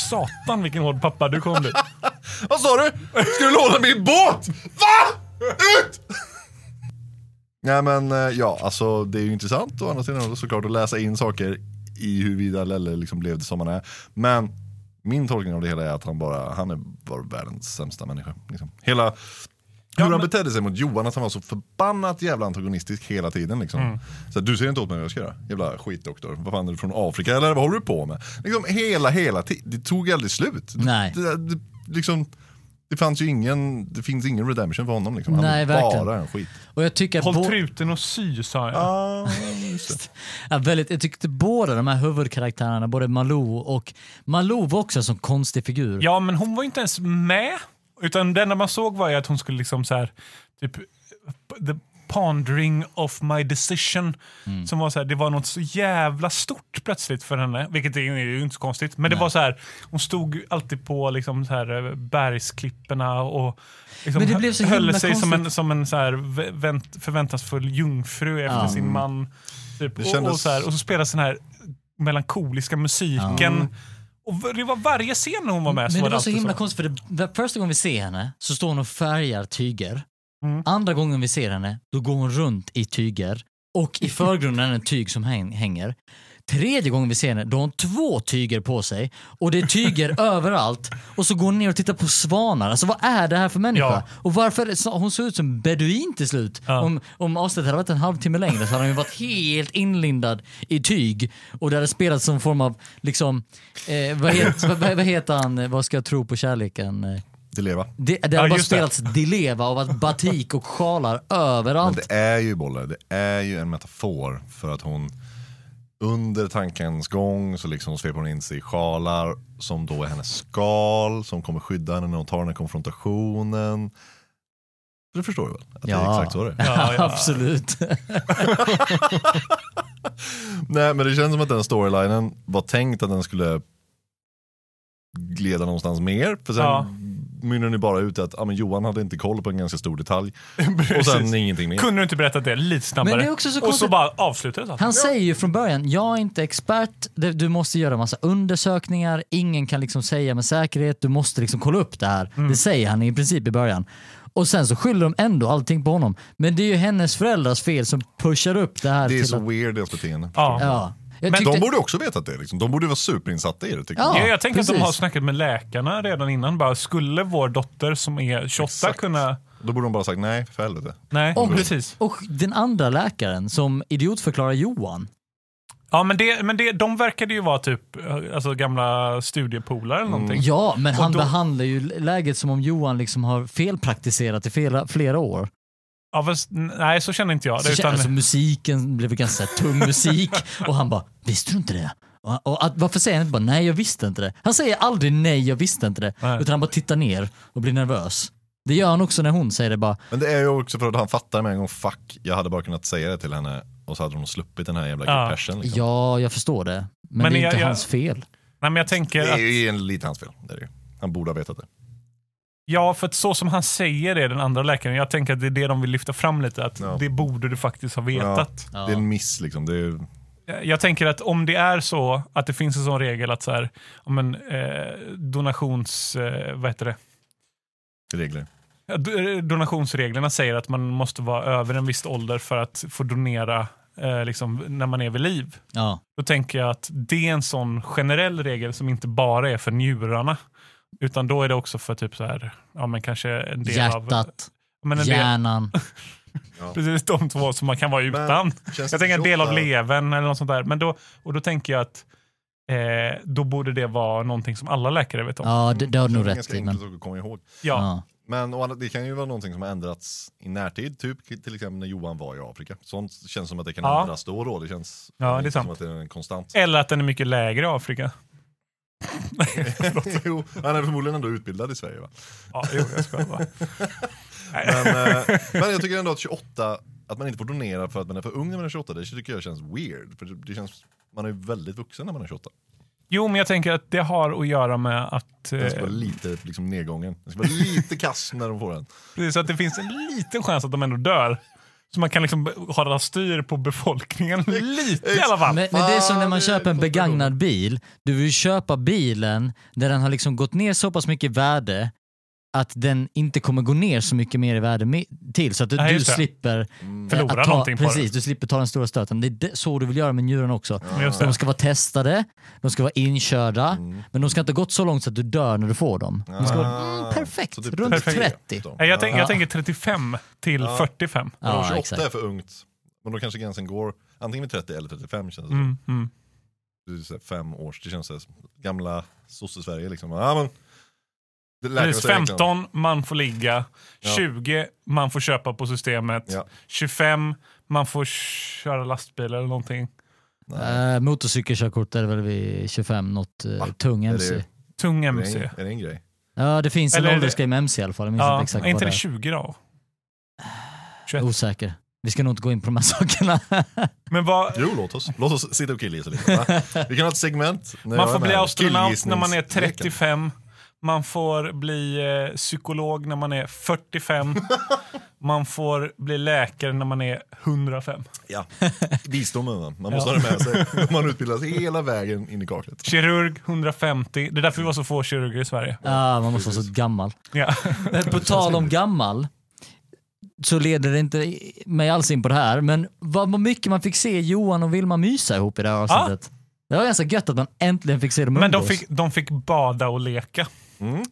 satan vilken hård pappa du kom dit. Vad sa du? Ska du låna min båt? Va? Ut! Nej men eh, ja, alltså det är ju intressant å andra sidan såklart att läsa in saker i huruvida Lelle liksom blev det som han är. Men min tolkning av det hela är att han bara, han är bara världens sämsta människa. Liksom. Hela, hur han men- betedde sig mot Johan, att han var så förbannat jävla antagonistisk hela tiden. Liksom. Mm. Så här, du ser inte åt mig vad jag ska göra, jävla skitdoktor. Vad fan är du från Afrika eller vad håller du på med? Liksom hela, hela tiden, det tog aldrig slut. Nej. Det, det, liksom, det fanns ju ingen, det finns ingen redemption för honom liksom. Han Nej, är verkligen. bara en skit. Och jag tycker att Håll bå- truten och sy sa jag. Ah, just det. Ja, väldigt, jag tyckte båda de här huvudkaraktärerna, både Malou och Malou var också en sån konstig figur. Ja, men hon var ju inte ens med. Utan det enda man såg var ju att hon skulle liksom så här, typ the pondering of my decision. Mm. Som var så här, det var något så jävla stort plötsligt för henne, vilket är ju inte så konstigt. Men det var så här, hon stod alltid på liksom så här eh, bergsklipporna och liksom Men det blev så hö- höll himla sig som en, konstigt. som en så här vä- vänt, förväntansfull jungfru efter Ja. Mm. sin man. Typ. Det Och, och, kändes- så här, och så spelades den här melankoliska musiken. Och v- det var varje scen när hon var med Men det var så alltid himla konstigt för det, för första gången vi ser henne så står hon och färgar tyger. Andra gången vi ser henne, då går hon runt i tyger och i förgrunden är det en tyg som häng- hänger. Tredje gången vi ser henne, då har hon två tyger på sig och det är tyger överallt och så går hon ner och tittar på svanar. Alltså vad är det här för människa? Ja. Och varför, är det så- hon såg ut som beduin till slut. Ja. Om, om avsnittet hade varit en halvtimme längre så hade hon ju varit helt inlindad i tyg och det hade spelats som form av liksom, eh, vad, heter, vad, vad heter han, eh, vad ska jag tro på kärleken? Eh, Dileva. Det, det har Ja, bara just det. spelats dileva och varit batik och sjalar Men överallt. det är ju bollar, det är ju en metafor för att hon under tankens gång så liksom sveper hon in sig i sjalar som då är hennes skal som kommer skydda henne när hon tar den här konfrontationen. Du förstår ju väl? Att det är Ja. exakt så det är. Ja, ja. Absolut. Nej men det känns som att den storylinen var tänkt att den skulle glida någonstans mer. För sen Ja. mynnar den ju bara ut i att ah, men Johan hade inte koll på en ganska stor detalj. Och Precis. sen ingenting mer. Kunde du inte berätta det lite snabbare? Men det är också så och så konstigt. bara avslutades allt. Han säger ju från början, jag är inte expert, Det- du måste göra massa undersökningar, ingen kan liksom säga med säkerhet, du måste liksom kolla upp det här. Det säger han i princip i början. Och sen så skyller de ändå allting på honom. Men det är ju hennes föräldrars fel som pushar upp det här Det är till så att... weird deras beteende. Ja. Ja. Jag Men De tyckte, borde också vetat det. Liksom. De borde vara superinsatta i det. Tycker Ja. jag. Ja, jag tänker att precis. de har snackat med läkarna redan innan. Bara, skulle vår dotter som är 28 Exakt. kunna... Då borde de bara sagt nej, för helvete. Nej, Och- precis. och den andra läkaren som idiotförklarar Johan. Ja, men, det, men det, de verkade ju vara typ alltså, gamla studiepolare eller någonting. Mm. Ja, men han då- behandlar ju läget som om Johan liksom har felpraktiserat i flera, flera år. Ja, fast, nej, så känner inte jag. Så Det, känner- utan, alltså, musiken blev ganska så här tung musik och han bara “Visste du inte det?” Och, och att, varför säger han inte bara “Nej, jag visste inte det?” Han säger aldrig “Nej, jag visste inte det” Nej. utan han bara tittar ner och blir nervös. Det gör han också när hon säger det bara Men det är ju också för att han fattar med en gång, fuck, jag hade bara kunnat säga det till henne och så hade de sluppit den här jävla Ja. depression. Liksom. “Ja, jag förstår det, men, Men det är jag- inte jag- hans fel”. nej, men jag tänker Det att, är ju en, lite hans fel. Det är det. ju. Han borde ha vetat det. ja, för att så som han säger det, den andra läkaren, jag tänker att det är det de vill lyfta fram lite. Att Ja. det borde du faktiskt ha vetat. Ja. Det är en miss liksom. Det är, Jag tänker att om det är så att det finns en sån regel att så här, ja, men, eh, donations, eh, vad heter det? det är regler. Ja, do- eh, Donationsreglerna säger att man måste vara över en viss ålder för att få donera eh, liksom, när man är vid liv. Ja. Då tänker jag att det är en sån generell regel som inte bara är för njurarna. Utan då är det också för typ så här, ja men kanske en del av... Hjärtat, Men en del, hjärnan. precis de två som man kan vara utan. Känns Jag tänker en det del av tjockt där? levern eller något sånt där. Men då, och då tänker jag att eh, då borde det vara någonting som alla läkare vet om. Ja. Ja, det, det har du Det nog är rätt ganska i. Men, enkelt att komma ihåg. ja. Men å andra- det kan ju vara någonting som har ändrats i närtid, typ till exempel när Johan var i Afrika. Sånt känns som att det kan Ja. ändras då och då. Det känns Ja, det är inte sant. som att det är en konstant. Eller att den är mycket lägre i Afrika. jo, han är förmodligen ändå utbildad i Sverige va? Ja, jo, jag skojar bara. Men, eh, men jag tycker ändå att 28, att man inte får donera för att man är för ung när man är 28, det tycker jag känns weird. För det, det känns, man är ju väldigt vuxen när man är 28. Jo, men jag tänker att det har att göra med att, eh, Den ska vara lite liksom, nedgången. Den ska vara lite kass när de får den. precis, att det finns en liten chans att de ändå dör. Så man kan liksom be- hålla styr på befolkningen lite i alla fall. Men, men det är som när Fan, man det köper en kostar begagnad bil. Du vill ju köpa bilen där den har liksom gått ner så pass mycket i värde att den inte kommer gå ner så mycket mer i värde me- till. Så att du, Nej, du just det. slipper eh, Förlora att ta, någonting på det. precis, du slipper ta den stora stöten. Det är det, så du vill göra med njuren också. Just De det. ska vara testade, de ska vara inkörda, Mm. men de ska inte ha gått så långt så att du dör när du får dem. De ska Ah. vara mm, perfekt, Så typ runt 30. då. Nej, Jag, tänk, Ja. jag tänker 35 till 45. Men om 28 exakt. är för ungt, men då kanske gränsen går antingen vid 30 eller 35 känns det som. Mm, mm. Det är så här fem års, det känns så här, gamla sosse-Sverige liksom. Ja, men, det lär Precis, sig verkligen. 15 man får ligga, 20 man får köpa på systemet, Ja. 25 man får köra lastbil eller någonting. Eh, motorcykelkörkort är det väl vid 25, något eh, tung Är MC. det, Tung är, Eh. det en, MC. är det en grej? Ja, det finns en Eller är det- åldersgrej med MC i alla fall. Jag minns Ja, inte är exakt vad inte det det är. 20 då? Jag är Osäker. Vi ska nog inte gå in på de här sakerna. Men vad, Jo, låt oss. Låt oss sitta och killgissa lite. Va? Vi kan ha ett segment. när jag man får är bli med. astronaut när man är Killgissningsleken. 35, man får bli eh, psykolog när man är 45, man får bli läkare när man är 105. Ja. Visdomen, va? man måste ha det med sig. Man utbildas hela vägen in i kaklet. Kirurg 150, det är därför vi var så få kirurger i Sverige. ah, man måste vara så gammal. Ja. Men på tal om gammal så leder det inte mig alls in på det här, men vad mycket man fick se Johan och Vilma mysa ihop i det här avsnittet. Det var ganska gött att man äntligen fick se dem Ah! Men de umgås. fick, de fick bada och leka.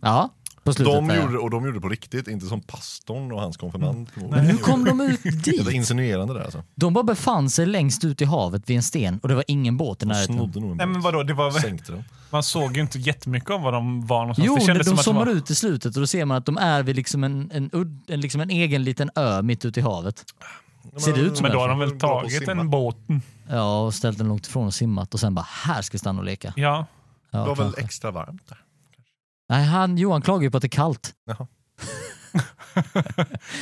Ja, på slutet. De där. gjorde, och de gjorde det på riktigt, inte som pastorn och hans konfirmand. Mm. Hur kom de ut Det var dit? insinuerande där alltså. De bara befann sig längst ut i havet vid en sten och det var ingen båt i De närheten. snodde nog en Nej men vadå, det var, båt, sänkte den. man såg ju inte jättemycket om var de var någonstans. Jo, det de, kändes de som att zoomar det var, ut i slutet och då ser man att de är vid liksom en, en, udd- en, liksom en egen liten ö mitt ute i havet. Ser det ut som Men då har därför. de väl Bra på att tagit simma. en båt. Ja, och ställt den långt ifrån och simmat och sen bara här ska vi stanna och leka. Ja. Ja, Det var väl kanske. extra varmt där. Nej, han, Johan klagar ju på att det är kallt. Jaha.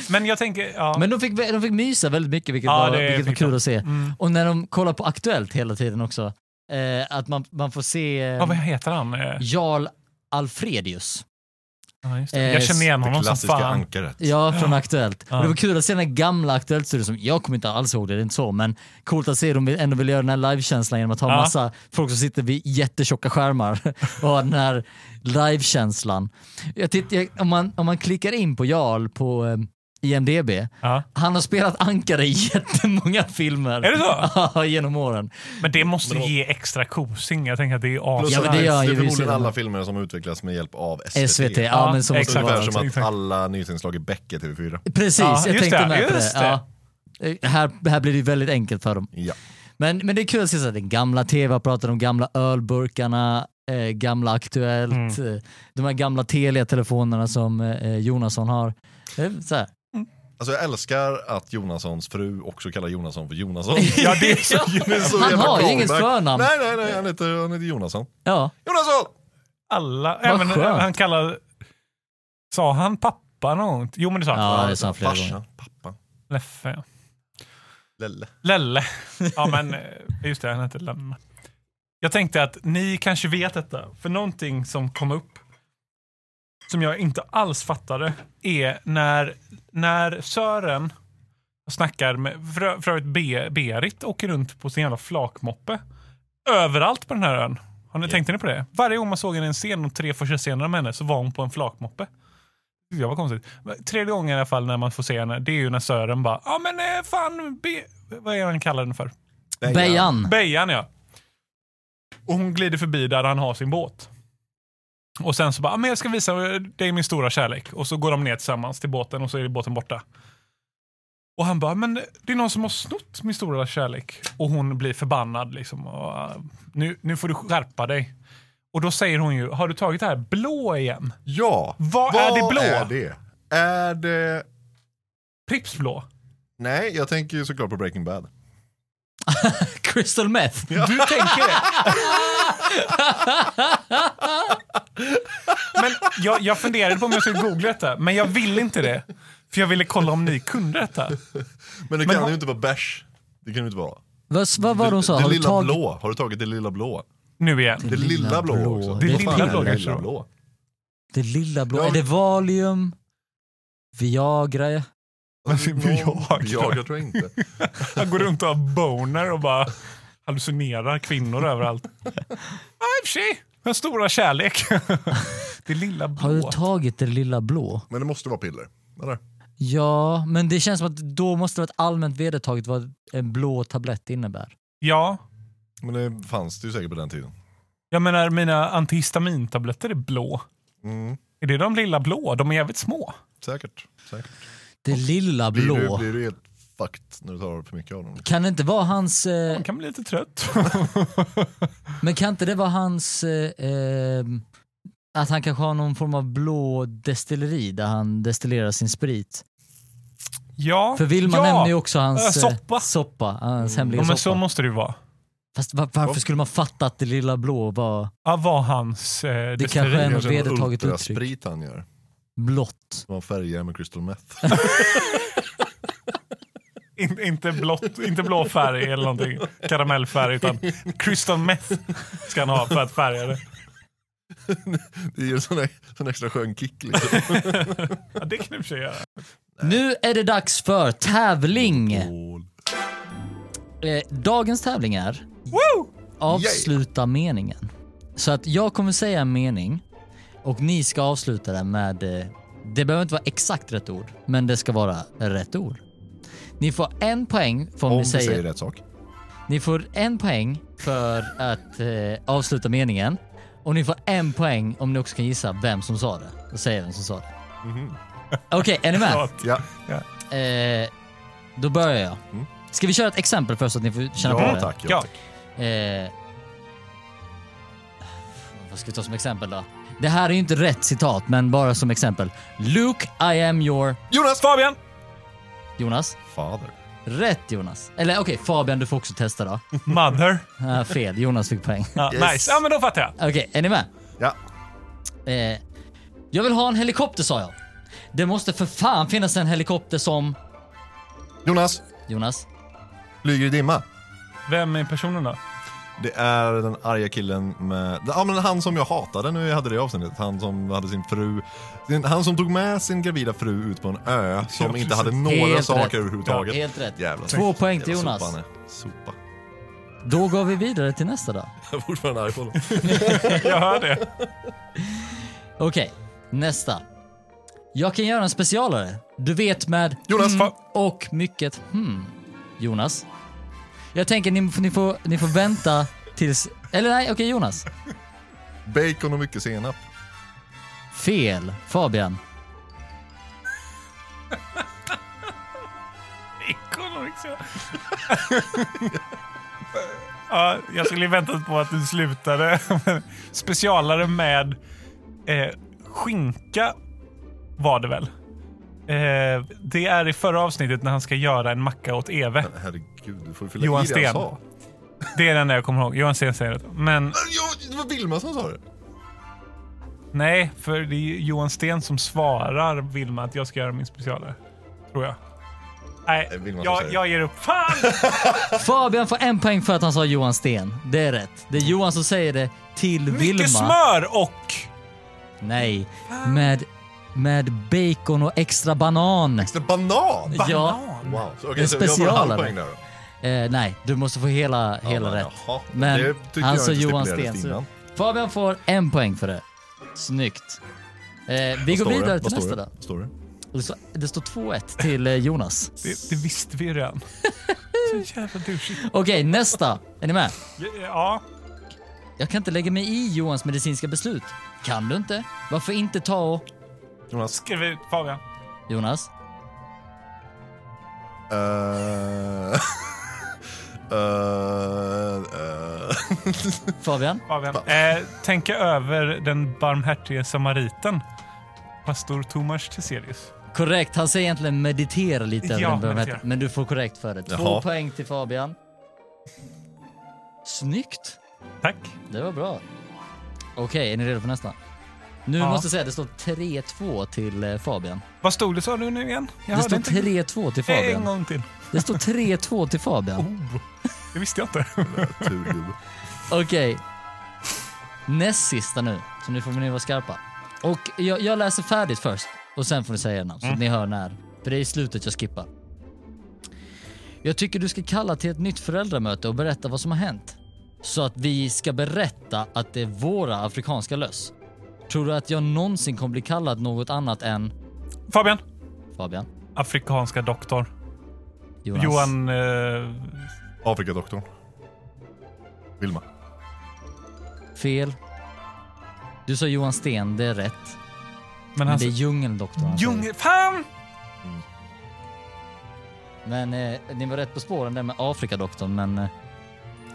Men jag tänker, ja. Men de fick, de fick mysa väldigt mycket vilket, Ja, var, det vilket var fick kul de. att se. mm. Och när de kollar på Aktuellt hela tiden också, eh, att man, man får se eh, ja, vad heter han? Eh, Jarl Alfredius. Ja, just det. Eh, Jag känner igen Det honom som klassiska fan. ankaret. Ja, från Aktuellt. Ja. Och det var kul att se den här gamla Aktuellt-studion som, jag kommer inte alls ihåg det, det är inte så, men coolt att se dem ändå vill göra den här livekänslan genom att ha Ja. massa folk som sitter vid jättetjocka skärmar och ha den här livekänslan. Jag titt- jag, om, man, om man klickar in på Jarl på eh, IMDB, Ja. han har spelat ankare i jättemånga filmer. Är det så? Ja, genom åren. Men det måste Men då- ge extra kosing. Jag tänker att det är as. Plus Ja, men att det gör är ju vi förmodligen sedan. alla filmer som utvecklas med hjälp av SVT. SVT, ja, Ja, men så måste det exakt. vara. Ungefär som att exakt. alla nyhetsinslag i Beck är TV4. Precis, Ja, jag just tänkte det, med på det. just det. Ja. Eh, Här, här blir det ju väldigt enkelt för dem. Ja. Men, men det är kul att se så här, den gamla tv-apparaten, de gamla ölburkarna, eh, gamla Aktuellt, Mm. eh, de här gamla Telia-telefonerna som eh, Jonasson har. Eh, Så här. Alltså jag älskar att Jonassons fru också kallar Jonasson för Jonasson. Ja, det är så. Det är så Han jävla har ju inget callback. förnamn. Nej, nej, nej, han heter, han heter Jonasson. Ja, Jonasson! Alla, även skönt. han kallar... Sa han pappa något? Jo, men det sa han. ja det sa han flera gånger. Farsan, pappan, Leffe. Lelle. Lelle. Ja, men eh, just det, han hette Lemme. Jag tänkte att ni kanske vet detta, för någonting som kom upp som jag inte alls fattade är när, när Sören snackar med, för, för övrigt Be, Berit åker runt på sin jävla flakmoppe överallt på den här ön. Har ni, Ja. Tänkte ni på det? Varje gång man såg henne i en scen, de tre första scenerna med henne, så var hon på en flakmoppe. Det var konstigt. Men Tredje gången i alla fall när man får se henne, det är ju när Sören bara, ja men eh, fan, be, vad är han kallar den för? Bejan. Bejan ja. Och hon glider förbi där han har sin båt. Och sen så bara, "Ah, men jag ska visa dig min stora kärlek. Och så går de ner tillsammans till båten och så är båten borta. Och han bara, men det är någon som har snott min stora kärlek. Och hon blir förbannad liksom. Och, "Ah, nu, nu får du skärpa dig. Och då säger hon ju, har du tagit det här blå igen? Ja. Vad är det blå? Är det? är det... Pripps blå. Nej, jag tänker ju såklart på Breaking Bad. Crystal Meth. Du tänker det? Men jag, jag funderade på om jag skulle googla detta, men jag ville inte det. För jag ville kolla om ni kunde detta. Men det Men kan har- ju inte vara bärs. Det kan ju inte vara. Vad, vad var det hon sa? Det, Har det du lilla tagit... blå. Har du tagit det lilla blå? Nu igen. Det lilla, blå, också. Det Vad fan lilla är blå det kanske då. blå? Det lilla blå. Ja. Är det Valium? Viagra? Alltså, Men det är någon- jag, tror jag. jag tror jag inte. Han går runt och har boner och bara hallucinerar kvinnor överallt. Ja, i och för sig. Den stora kärlek. Det lilla Har du blå. tagit det lilla blå? Men det måste vara piller. Eller? Ja, men det känns som att då måste det vara ett allmänt vedertaget vad en blå tablett innebär. Ja, Men det fanns det ju säkert på den tiden. jag menar mina antihistamintabletter är blå. Mm, Är det de lilla blå? De är jävligt små. säkert. säkert. Det lilla Blir, blå. Du, blir du helt fucked när du tar för mycket av dem? Kan det inte vara hans... Eh, Man kan bli lite trött. men kan inte det vara hans... Eh, eh, att han kanske har någon form av blå destilleri där han destillerar sin sprit. Ja. För Vilma ja. nämner ju också hans... eh, eh, soppa. Soppa, hans Ja, hemliga men så soppa. måste det ju vara. Fast va- varför skulle man fatta att det lilla blå var Ja, var hans... Eh, det kanske är en- Kanske en vedertaget uttryck. ultrasprit han gör. blått? Som han färgar med crystal meth. in, inte, blått, inte blå färg eller någonting. Karamellfärg, utan crystal meth ska han ha för att färga det. Det ger en sån, sån extra skön kick. Liksom. Ja, det kan du i och för sig göra. Nu är det dags för tävling! Ål. Eh, dagens tävling är Woo! avsluta meningen. Så att jag kommer säga en mening och ni ska avsluta den med, eh, det behöver inte vara exakt rätt ord, men det ska vara rätt ord. Ni får en poäng för om, Om ni vi säger, säger rätt sak. ni får en poäng för att eh, avsluta meningen Och ni får en poäng om ni också kan gissa vem som sa det. Då säger jag vem som sa det. Okej, är ni med? Klart. Mhm. Ja, Mm. Eh, då börjar jag. Ska vi köra ett exempel först så att ni får känna på ja det? tack. Ja, Ja. tack. Eh, vad ska vi ta som exempel då? Det här är ju inte rätt citat, men bara som exempel. Luke, I am your... Jonas! Fabian! Jonas? Fader. Rätt Jonas. Eller okej, Fabian du får också testa då. Mother. Ah, fel, Jonas fick poäng. Ja, Yes. Nice. Ja, men då fattar jag. Okej, är ni med? Ja. Eh, jag vill ha en helikopter sa jag. Det måste för fan finnas en helikopter som... Jonas, Jonas? flyger i dimma. Vem är personen då? Det är den arga killen med, ja men han som jag hatade nu jag hade det avsnittet, han som hade sin fru, sin- han som tog med sin gravida fru ut på en ö som precis. inte hade några Helt saker rätt. överhuvudtaget. Helt rätt. Jävla Två snyggt. poäng till Jävla Jonas. Sopa, han är. sopa. Då går vi vidare till nästa då. Jag är fortfarande arg på honom. Jag hör det. Okej, nästa. Jag kan göra en specialare. Du vet med... Jonas, mm, fa- och mycket hmm. Jonas. Jag tänker ni, ni, får, ni får vänta tills... Eller nej, okej Jonas. Bacon och mycket senap. Fel. Fabian. Ekonomiksa. ja, jag skulle ju väntat på att du slutade. Specialare med eh, skinka var det väl? Eh, det är i förra avsnittet när han ska göra en macka åt Eve. Herregud, du får ju fylla Johan i det jag Sten. sa. Det är den jag kommer ihåg. Johan Sten säger det. Men Jag, det var Vilma som sa det. nej, för det är ju Johan Sten som svarar Vilma att jag ska göra min specialare. Tror jag. Nej, Det är Vilma som jag, säger. jag ger upp. Fan! Fabian får en poäng för att han sa Johan Sten. Det är rätt. Det är Johan som säger det till Vilma. Mycket smör och... Nej. Med, med bacon och extra banan. Det är banan! Ja. Wow, så, Det är okay, så jag får en halv specialare. poäng där då. Eh, nej, du måste få hela, Ja, hela men rätt. jaha. Men Det tycker han jag sa inte Johan stipulerades Sten. så- innan. Fabian får en poäng för det. Snyggt. Eh, vi går Står det? vidare Vad till nästa står det? då. Vad står det? Det står- Det står 2-1 till eh, Jonas. Det, det visste vi ju redan. Så jävla douchigt. Okej, nästa. Är ni med? Ja, Jag kan inte lägga mig i Johans medicinska beslut. Kan du inte? Varför inte ta och... Jonas? skriv ut Fabian. Jonas? Eh, eh, eh. Fabian? Fabian. Eh, tänk över den barmhärtige samariten. Pastor Tomas Teselius. Korrekt, han säger egentligen meditera lite. över Ja, den början. meditera. Men du får korrekt för det. Två Jaha. poäng till Fabian. Snyggt! Tack. Det var bra. Okej, är ni redo för nästa? Nu Ja. måste jag säga att det står 3-2 till eh, Fabian. Vad stod det sa du nu igen? Jag Det hörde står inte. 3-2 till En Fabian. gång till. Det står 3-2 till Fabian. Oh, det visste jag inte. Turgubbe. Oh. Okej. Näst sista nu, så nu får ni vara skarpa. Och jag, jag läser färdigt först och sen får ni säga era namn så Mm. att ni hör när. För det är i slutet jag skippar. Jag tycker du ska kalla till ett nytt föräldramöte och berätta vad som har hänt. Så att vi ska berätta att det är våra afrikanska löss. Tror du att jag någonsin kommer bli kallad något annat än Fabian. Fabian? Afrikanska doktorn. Jonas? Johan... Eh, Afrikadoktorn. Vilma. Fel. Du sa Johan Sten, det är rätt. men alltså- Men han... det är djungeldoktorn alltså. han säger. Ljung... Fan! Men eh, ni var rätt på spåren där med Afrikadoktorn, men eh,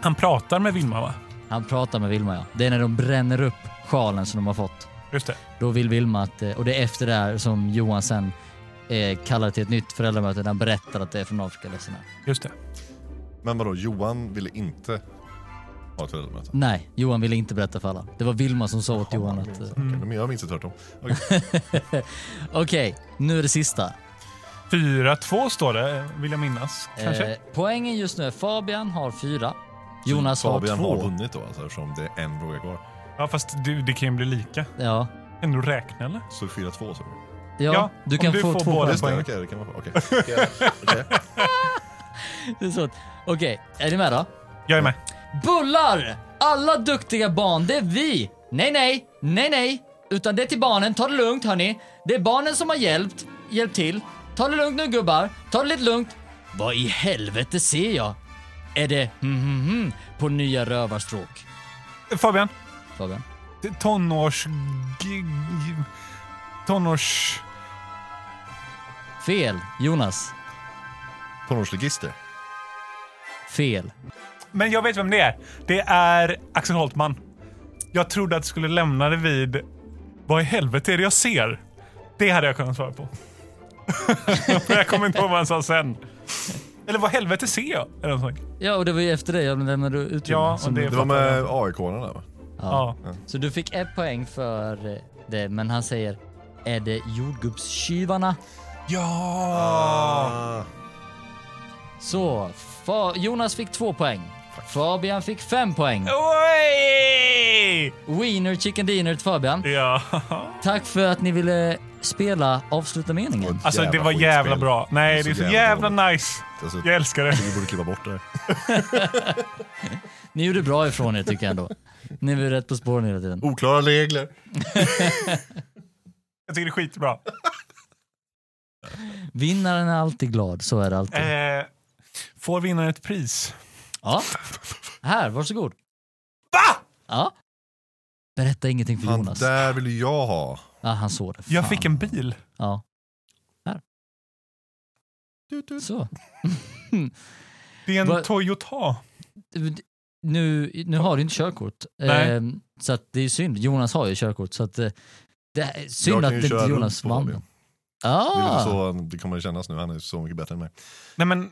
Han pratar med Vilma va? han pratar med Vilma ja. Det är när de bränner upp sjalen som de har fått. Just det. Då vill Vilma att, eh, och det är efter det här som Johan sen eh, kallar till ett nytt föräldramöte där han berättar att det är från Afrika. Liksom. Just det. Men vadå, Johan ville inte ha ett föräldramöte? Nej, Johan ville inte berätta för alla. Det var Vilma som sa åt Johan att... eh, Okej, men jag minns det tvärtom. Okej. Okej, nu är det sista. 4-2 står det, eh, vill jag minnas. Kanske. Eh, poängen just nu är Fabian har fyra. Alltså, Jonas har Fabian har två. vunnit då alltså, eftersom det är en fråga kvar. Ja, fast du, det kan ju bli lika. Ja, Ändå räkna eller? Så 4-2 så. ja, Ja, du om kan du få får två båda poäng. Just det, okej, det kan man få. Okej. Okej. Okej. Det är så att- Okej, är ni med då? Jag är med. Bullar! Alla duktiga barn, det är vi! Nej, nej, nej, nej. Utan det är till barnen, ta det lugnt hörni. Det är barnen som har hjälpt, hjälpt till. Ta det lugnt nu gubbar, ta det lite lugnt. Vad i helvete ser jag? Är det hmm hmm hmm på nya rövarstråk? Fabian. Fabian? t- tonårs... G, g, tonårs... Fel. Jonas. Tonårsligister. Fel. Men jag vet vem det är. Det är Axel Holtman. Jag trodde att du skulle lämna det vid... Vad i helvete är det jag ser? Det hade jag kunnat svara på. Men jag kommer inte ihåg vad han sa sen. Eller vad helvete ser jag? Eller något sånt. Ja, och det var ju efter det jag lämnade ut Ja, och som, det, Det var med AIK-arna där va? Ja. Så du fick ett poäng för eh, det, men han säger är det jordgubbstjuvarna? Ja! Ah. Så Fa- Jonas fick två poäng. Fabian fick fem poäng. Oj! Wiener chicken dinner till Fabian. Ja. Tack för att ni ville spela avsluta meningen. Alltså Jävla det var jävla skitspel. bra. Nej, det är så jävla dåligt. nice. Alltså, Jag älskar det. Vi borde klippa bort det här. Ni gjorde bra ifrån er tycker jag ändå. Ni var rätt på spåren hela tiden. Oklara regler. Jag tycker det är skitbra. Vinnaren är alltid glad, så är det alltid. Eh, får vinnaren ett pris? Ja. Här, varsågod. Va? Ja. Berätta ingenting för Han Jonas. där vill jag ha. Ja, han såg det. Fan. Jag fick en bil. Ja. Här. Så. Det är en Vad- Toyota. Nu, nu har du inte körkort. Nej. Ehm, Så att det är synd. Jonas har ju körkort. Så att eh, det är synd jag att kan ju inte köra runt Jonas på vann. Fabian. Det är lite Ah. så det kommer att kännas nu. Han är så mycket bättre än mig. Nej men,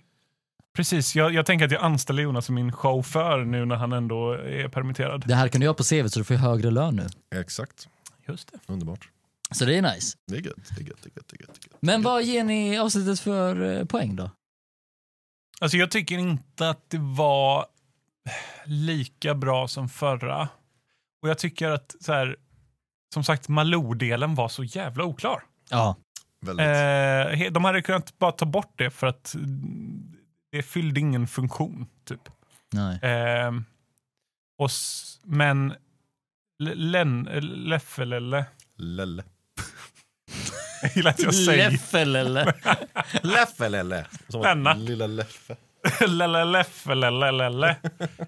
precis. Jag, jag tänker att jag anställer Jonas som min chaufför nu när han ändå är permitterad. Det här kan du göra på CV så du får ju högre lön nu. Exakt. Just det. Underbart. Så det är nice. Det är gött. Det är gött. Det är gött. Det är gött. Det är gött. Men vad ger ni avsnittet för eh, poäng då? Alltså jag tycker inte att det var lika bra som förra. Och jag tycker att så här, som sagt Malou-delen var så jävla oklar. Ja. Väldigt. Eh, he- de hade kunnat bara ta bort det för att mm, det fyllde ingen funktion. Typ. Nej. Eh, och s- men L- Len- Leffelelle, Lelle. jag gillar att jag säger Leffel eller? Leffe Lelle. Som Denna. lilla Leffe. Lelle, Leffelelelele.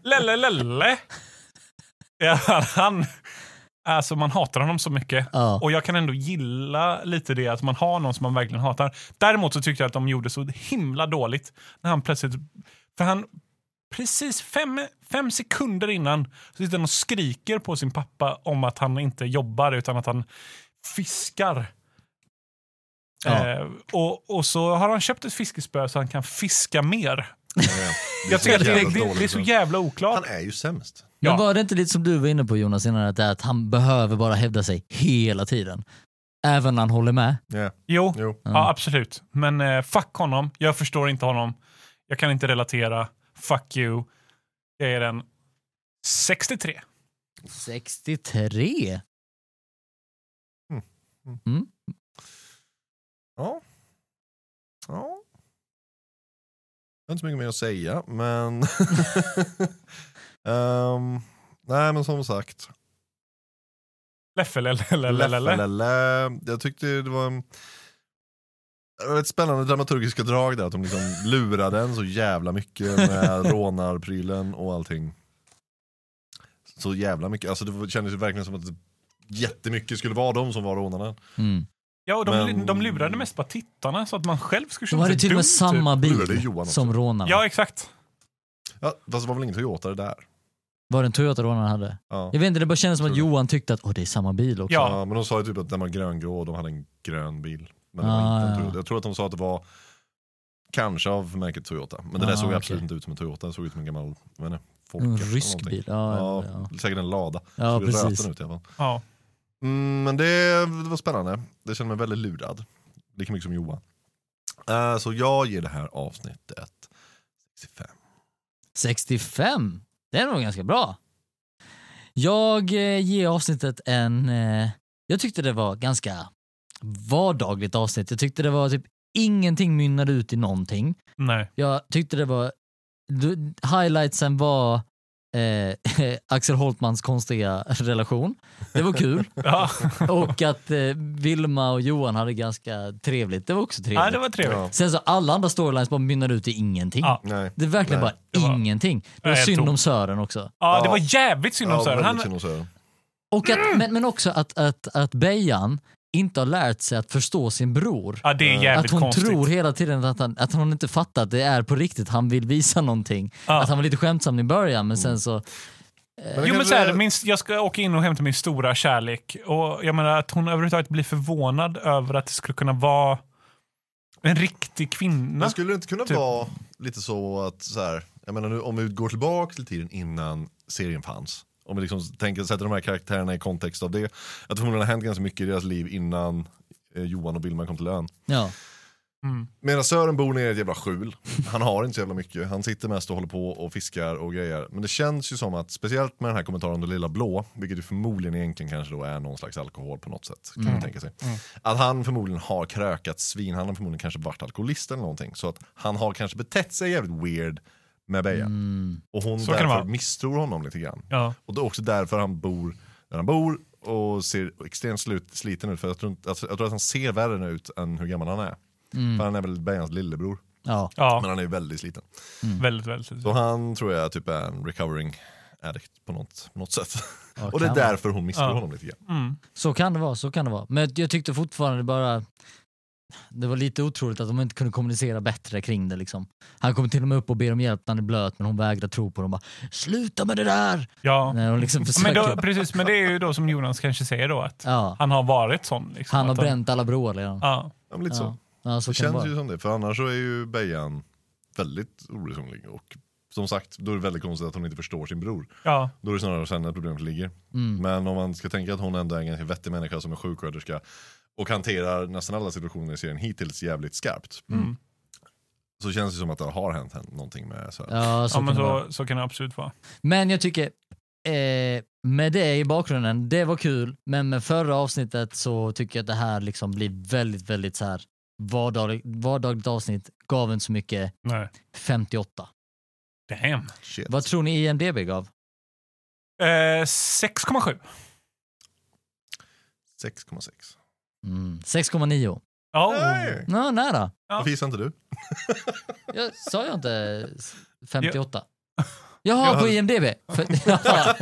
Lelelele. Ja, han, alltså man hatar honom så mycket. Ja. Och jag kan ändå gilla lite det att man har någon som man verkligen hatar. Däremot så tyckte jag att de gjorde så himla dåligt när han plötsligt, för han precis fem, fem sekunder innan så sitter han och skriker på sin pappa om att han inte jobbar utan att han fiskar. Ja. Eh, och, och så har han köpt ett fiskespö så han kan fiska mer. Det är Jag så tycker att det, jävla det, det är dåligt. så jävla oklart. Han är ju sämst. Men Ja. var det inte lite som du var inne på Jonas innan, att, det är att han behöver bara hävda sig hela tiden? Även när han håller med? Ja. Jo, Jo. ja, absolut. Men eh, fuck honom. Jag förstår inte honom. Jag kan inte relatera. Fuck you. Jag är en 63. 63? Ja. Ja. Jag har inte så mycket mer att säga, men... Ehm, nej, men som sagt. Leffelelelelele. Leffelele. Jag tyckte det var en... det var ett spännande dramaturgiska drag där, att de liksom lurade en så jävla mycket med rånarprylen och allting. Så jävla mycket, alltså det var- kändes ju verkligen som att jättemycket skulle vara de som var rånarna. Mm. Ja, och de, Men- de lurade mest bara tittarna så att man själv skulle De känna hade sig till och typ dum. med samma Lurar typ? det bil Johan också? som rånarna. Typ. Ja, exakt. Ja, fast det var väl ingen Toyota det där? Var det en Toyota rånarna hade? Ja. Jag vet inte, det bara kändes som att Tror Johan tyckte att Åh, det är samma bil också. Ja. Ja, men de sa ju typ att den var gröngrå och de hade en grön bil. Men det Ah, var inte en ja. Toyota. Jag tror att de sa att det var kanske av märket Toyota. Men det Ah, där såg absolut okej. inte ut som en Toyota, det såg ut som en gammal, vad är det, Folka en eller rysk någonting. bil. Ja, Ja, ja, ja. säkert en lada. ja såg precis. precis. röten ut i alla fall. Ja. Mm, men det, det var spännande. Det kände mig väldigt lurad. Lika mycket som Johan. Eh, så jag ger det här avsnittet 65. 65? Det är nog ganska bra. Jag eh, ger avsnittet en... Eh, jag tyckte det var ganska vardagligt avsnitt. Jag tyckte det var typ ingenting mynnade ut i någonting. Nej. Jag tyckte det var... du- Highlightsen var eh, Axel Holtmans konstiga relation. Det var kul. Ja. och att eh, Vilma och Johan hade ganska trevligt. Det var också trevligt. ja, det var trevligt. Ja. Sen så alla andra storylines bara mynnade ut i ingenting. Ja. Nej. Det är verkligen Nej, bara det var- ingenting. Det Nej, var jag synd tror- om Sören också. Ja, det var jävligt synd om Ja, Sören. väldigt Han, synd om Sören. Och att, men, men också att, att, att Bejan inte har lärt sig att förstå sin bror. Ja, det är jävligt Att hon konstigt. tror hela tiden att, han, att hon inte fattar att det är på riktigt, han vill visa någonting. Ja. Att han var lite skämtsam i början men sen så... det Jo men kanske- så här, minst, jag ska åka in och hämta min stora kärlek. Och jag menar att hon överhuvudtaget blir förvånad över att det skulle kunna vara en riktig kvinna. Men skulle det inte kunna Typ. vara lite så att, så här, jag menar nu, om vi går tillbaka till tiden innan serien fanns, om vi liksom tänker, sätter de här karaktärerna i kontext av det, att det förmodligen har hänt ganska mycket i deras liv innan eh, Johan och Billman kom till ön. Ja. Medan Sören bor nere i ett jävla skjul, han har inte så jävla mycket, han sitter mest och håller på och fiskar och grejer. Men det känns ju som att, speciellt med den här kommentaren om det lilla blå, vilket ju förmodligen egentligen kanske då är någon slags alkohol på något sätt, kan Mm. man tänka sig. Att han förmodligen har krökat svin, han har förmodligen kanske varit alkoholist eller någonting. Så att han har kanske betett sig jävligt weird med Beja. Och hon Mm. Så kan det därför vara. misstror honom lite grann. Ja. Och det är också därför han bor där han bor och ser extremt slut, sliten ut. För jag tror, inte, alltså, jag tror att han ser värre ut än hur gammal han är. För han är väl Bejans lillebror. Ja. Ja, Men han är ju väldigt sliten. väldigt, väldigt. Mm. Så han tror jag typ är en recovering addict på något, på något sätt. och det är kan därför hon misstror Ja. honom lite grann. Mm. Så kan det vara, så kan det vara. Men jag tyckte fortfarande bara det var lite otroligt att de inte kunde kommunicera bättre kring det liksom. Han kommer till och med upp och ber om hjälp när han är blöt men hon vägrar tro på honom. Bara, Sluta med det där! Ja. När hon liksom Men, försöker. då, precis, men det är ju då som Jonas kanske säger då att ja, han har varit sån. Liksom, han har att bränt alla broar redan. Ja. Ja, men lite så. Ja, ja så Det kan det känns vara. ju som det. För annars så är ju Bejan väldigt oresonlig. Och som sagt, då är det väldigt konstigt att hon inte förstår sin bror. Ja. Då är det snarare sen när problemet ligger. Mm. Men om man ska tänka att hon ändå är en ganska vettig människa som är sjuksköterska och hanterar nästan alla situationer i serien hittills jävligt skarpt. Mm. Mm. Så känns det som att det har hänt hen- någonting med så här. Ja, så ja, men kan det vara. så, så kan det absolut vara. Men jag tycker, eh, med det i bakgrunden, det var kul, men med förra avsnittet så tycker jag att det här liksom blir väldigt, väldigt så här vardagligt, vardagligt avsnitt, gav inte så mycket, Nej. 58. Damn. Shit. Vad tror ni IMDB gav? Eh, 6,7. 6,6. Mm. 6,9. Oh. Nej! Nå, nära. Ja. Varför gissar inte du? Jag sa jag inte 58? Jaha, på Jag- IMDB? För, ja.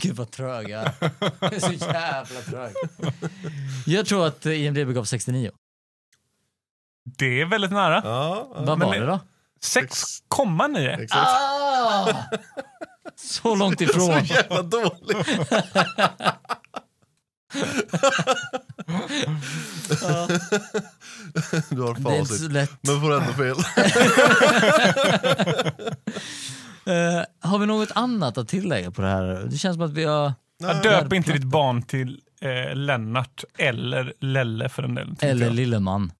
Gud vad trög jag är. Jag är så jävla trög. Jag tror att eh, IMDB gav 69. Det är väldigt nära. Ja, ja. Vad men var det- det då? 6,9. Exakt. Ah! Så långt Det är ifrån. så jävla dåligt. Ja. Du har Det är inte så facit. lätt. Men får ändå fel. Eh, har vi något annat att tillägga på det här? Det känns som att vi har... Ja, döp inte ditt barn till eh, Lennart eller Lelle för den delen. tänkte Eller jag. Lilleman.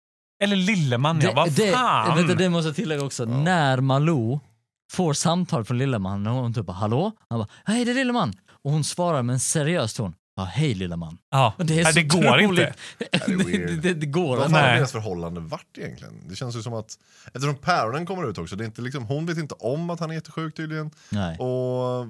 eller Lilleman, ja. Vad det, fan! Vänta, det måste jag tillägga också. När Malou får samtal från Lilleman, och hon typ bara “Hallå?” Han bara “Hej, det är Lilleman” och hon svarar med en seriös ton “Ja, hej Lilleman”. ja. Och det, är Nej, så det går otroligt- inte. är det, weird. det, det, det går Vad inte. fan har Nej. deras förhållande varit egentligen? Det känns ju som att, eftersom päronen kommer ut också, det är inte liksom, hon vet inte om att han är jättesjuk tydligen. Nej. Och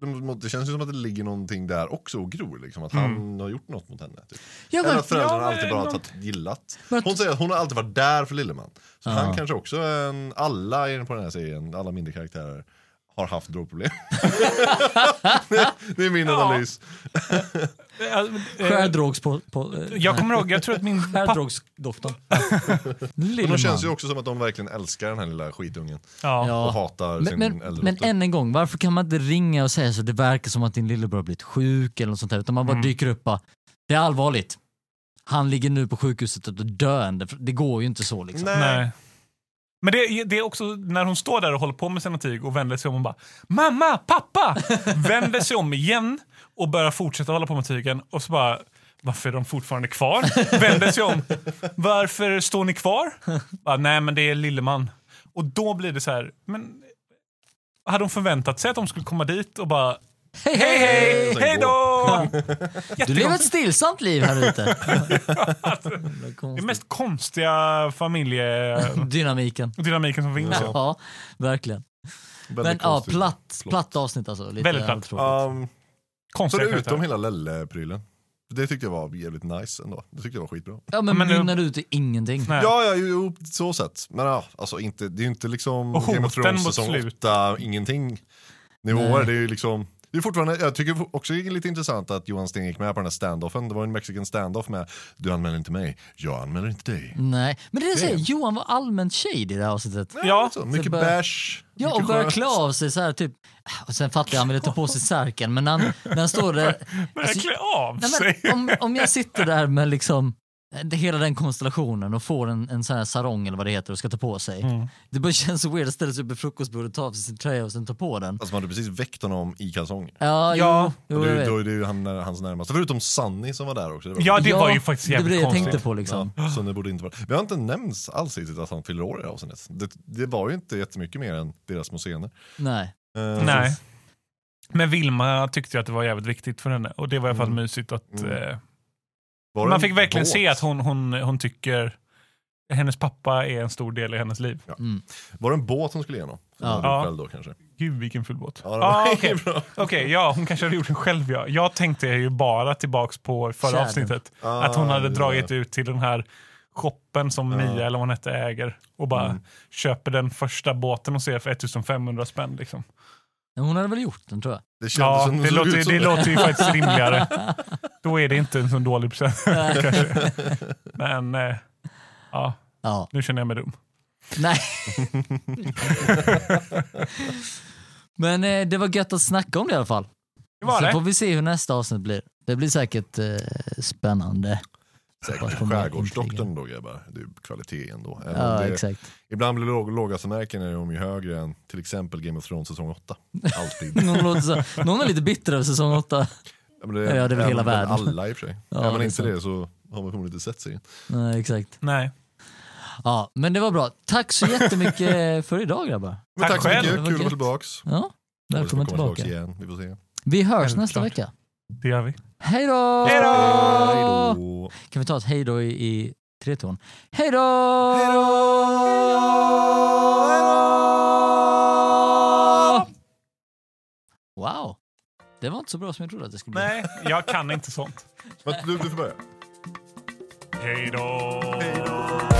det- det känns ju som att det ligger någonting där också och gror, liksom, att han har gjort något mot henne. Typ. Mm. Ja, Eller men, att föräldrarna ja, men alltid bara har någon- tagit- gillat. Men att- Hon säger att hon har alltid varit där för Lilleman. Så Ja. han kanske också, är en, alla i den- på den här serien, alla mindre karaktärer, har haft drogproblem. det är min analys. Eh, eh, Skärdrogs på... på eh, Jag kommer ihåg, jag tror att min pappa... Skärdrogsdoktorn. Men Lilleman. de känns ju också som att de verkligen älskar den här lilla skitungen Ja. och Ja. hatar Men, sin men, äldre men dotter. än en gång, varför kan man inte ringa och säga så det verkar som att din lillebror har blivit sjuk eller något sånt där, utan man Mm. bara dyker upp bara, det är allvarligt. Han ligger nu på sjukhuset och är döende, för det går ju inte så liksom. Nej. Nej. Men det, det är också när hon står där och håller på med sina tyg och vänder sig om och bara “Mamma! Pappa!” Vänder sig om igen och börjar fortsätta hålla på med tygen och så bara “Varför är de fortfarande kvar?” Vänder sig om. “Varför står ni kvar?” bara, “Nej, men det är Lilleman.” Och då blir det så här, men hade hon förväntat sig att de skulle komma dit och bara Hej “Hej, hej! sen Hej då!” Du lever ett stillsamt liv här ute. Det är mest konstiga familjedynamiken Dynamiken. som finns. Ja. Ja, verkligen. Men Väldigt ja, konstigt. platt, Plott. platt avsnitt alltså. Lite Väldigt platt. otroligt. Um, Konstiga karaktärer. förutom hela Lelle-prylen. Det tyckte jag var jävligt nice ändå. Det tyckte jag var skitbra. Ja, men, men nu- mynnar ut i ingenting. Nej. Ja, ja, jo, jo, på så sätt. Men ja, alltså inte, det är ju inte liksom Och Game hoten of Thrones mot säsong slut. 8, ingenting nivåer. Nej. Det är ju liksom, det Det är fortfarande, jag tycker också det är lite intressant att Johan Sten gick med på den här standoffen. Det var en mexican standoff med du anmäler inte mig, jag anmäler inte dig. Nej, men det är det jag säger, Det- Johan var allmänt shade i det här avsnittet. Ja. så, mycket Det bör- bärs. Ja, och mycket börjar skönt. klä av sig så här typ. Och sen fattar jag, han ville ta på sig särken, men han, när han står där. Börjar Alltså, klä av nej, sig. men, om, om jag sitter där med liksom eh, det- hela den konstellationen och får en, en sån här sarong eller vad det heter och ska ta på sig. Mm. Det bara känns så weird att ställa sig upp vid frukostbordet, ta av sig sin tröja och sen ta på den. Alltså man hade precis väckt honom i kalsonger. Ja, Ja, jo, Och jo det, jag är ju- vet. då är det ju han, eh, hans närmaste, förutom Sunny som var där också. Det var Ja, det var ju Ja, faktiskt Det var jävligt det jag konstigt. tänkte på liksom. Ja, så det borde inte vara. Vi har inte nämnts alls hittills att han fyller år i det här avsnittet. Det, det var ju inte jättemycket mer än deras små scener. Nej. Eh, Nej. Men Vilma tyckte ju att det var jävligt viktigt för henne. Och det var i alla fall Mm. mysigt att... Mm. Eh, var det man en fick verkligen båt? se att hon, hon, hon tycker... Hennes pappa är en stor del i hennes liv. Var det en båt hon skulle igenom? Ja. Som hon drog Ja. Själv då kanske. Gud vilken full båt. Ja, det Ah, var okej. bra. Okej, ja, hon kanske hade gjort det själv. Ja. Jag tänkte ju bara tillbaks på förra Tjärnen. avsnittet. Ah, att hon hade det dragit där. ut till den här shoppen som Mia eller vad hon hette äger och bara Mm. köper den första båten och ser för 1500 spänn. Liksom. Men Hon hade väl gjort den tror jag. Det kändes Ja, som det, såg ut låter, som det låter ju faktiskt rimligare. Då är det inte en så dålig present. kanske. Men eh, ja, Ja. nu känner jag mig dum. Nej. Men eh, det var gött att snacka om det i alla fall. Det var Sen får det. vi se hur nästa avsnitt blir. Det blir säkert eh, spännande. Vart Säkert kommer skärgårdsdoktorn då grabbar. Det är ju kvalitet ändå. Även om Ja, det, exakt. ibland blir låg, lågasamärken är de ju högre än till exempel Game of Thrones säsong 8. Alltid. Någon, låter så, någon är lite bitter över säsong åtta. Ja, men det, Ja, det är väl hela även världen. Alla i och för sig. Ja, Ja, men det är inte sant. det så har man förmodligen inte sett serien. Nej, exakt. Nej. Ja, men det var bra. Tack så jättemycket för idag grabbar. Men Tack tack, så själv. mycket, Det var kul att gött. vara tillbaks. Ja, välkommen Hoppas vi kommer tillbaka. igen. Vi får se. Vi hörs Självklart. nästa vecka. Det gör vi. Hej då! Hej då! Hej då! Kan vi ta ett hej då i, i tre ton? Hej då! Wow, det var inte så bra som jag trodde att det skulle bli. Nej, jag kan inte sånt. Men du, du får börja. Hej då. Hej då!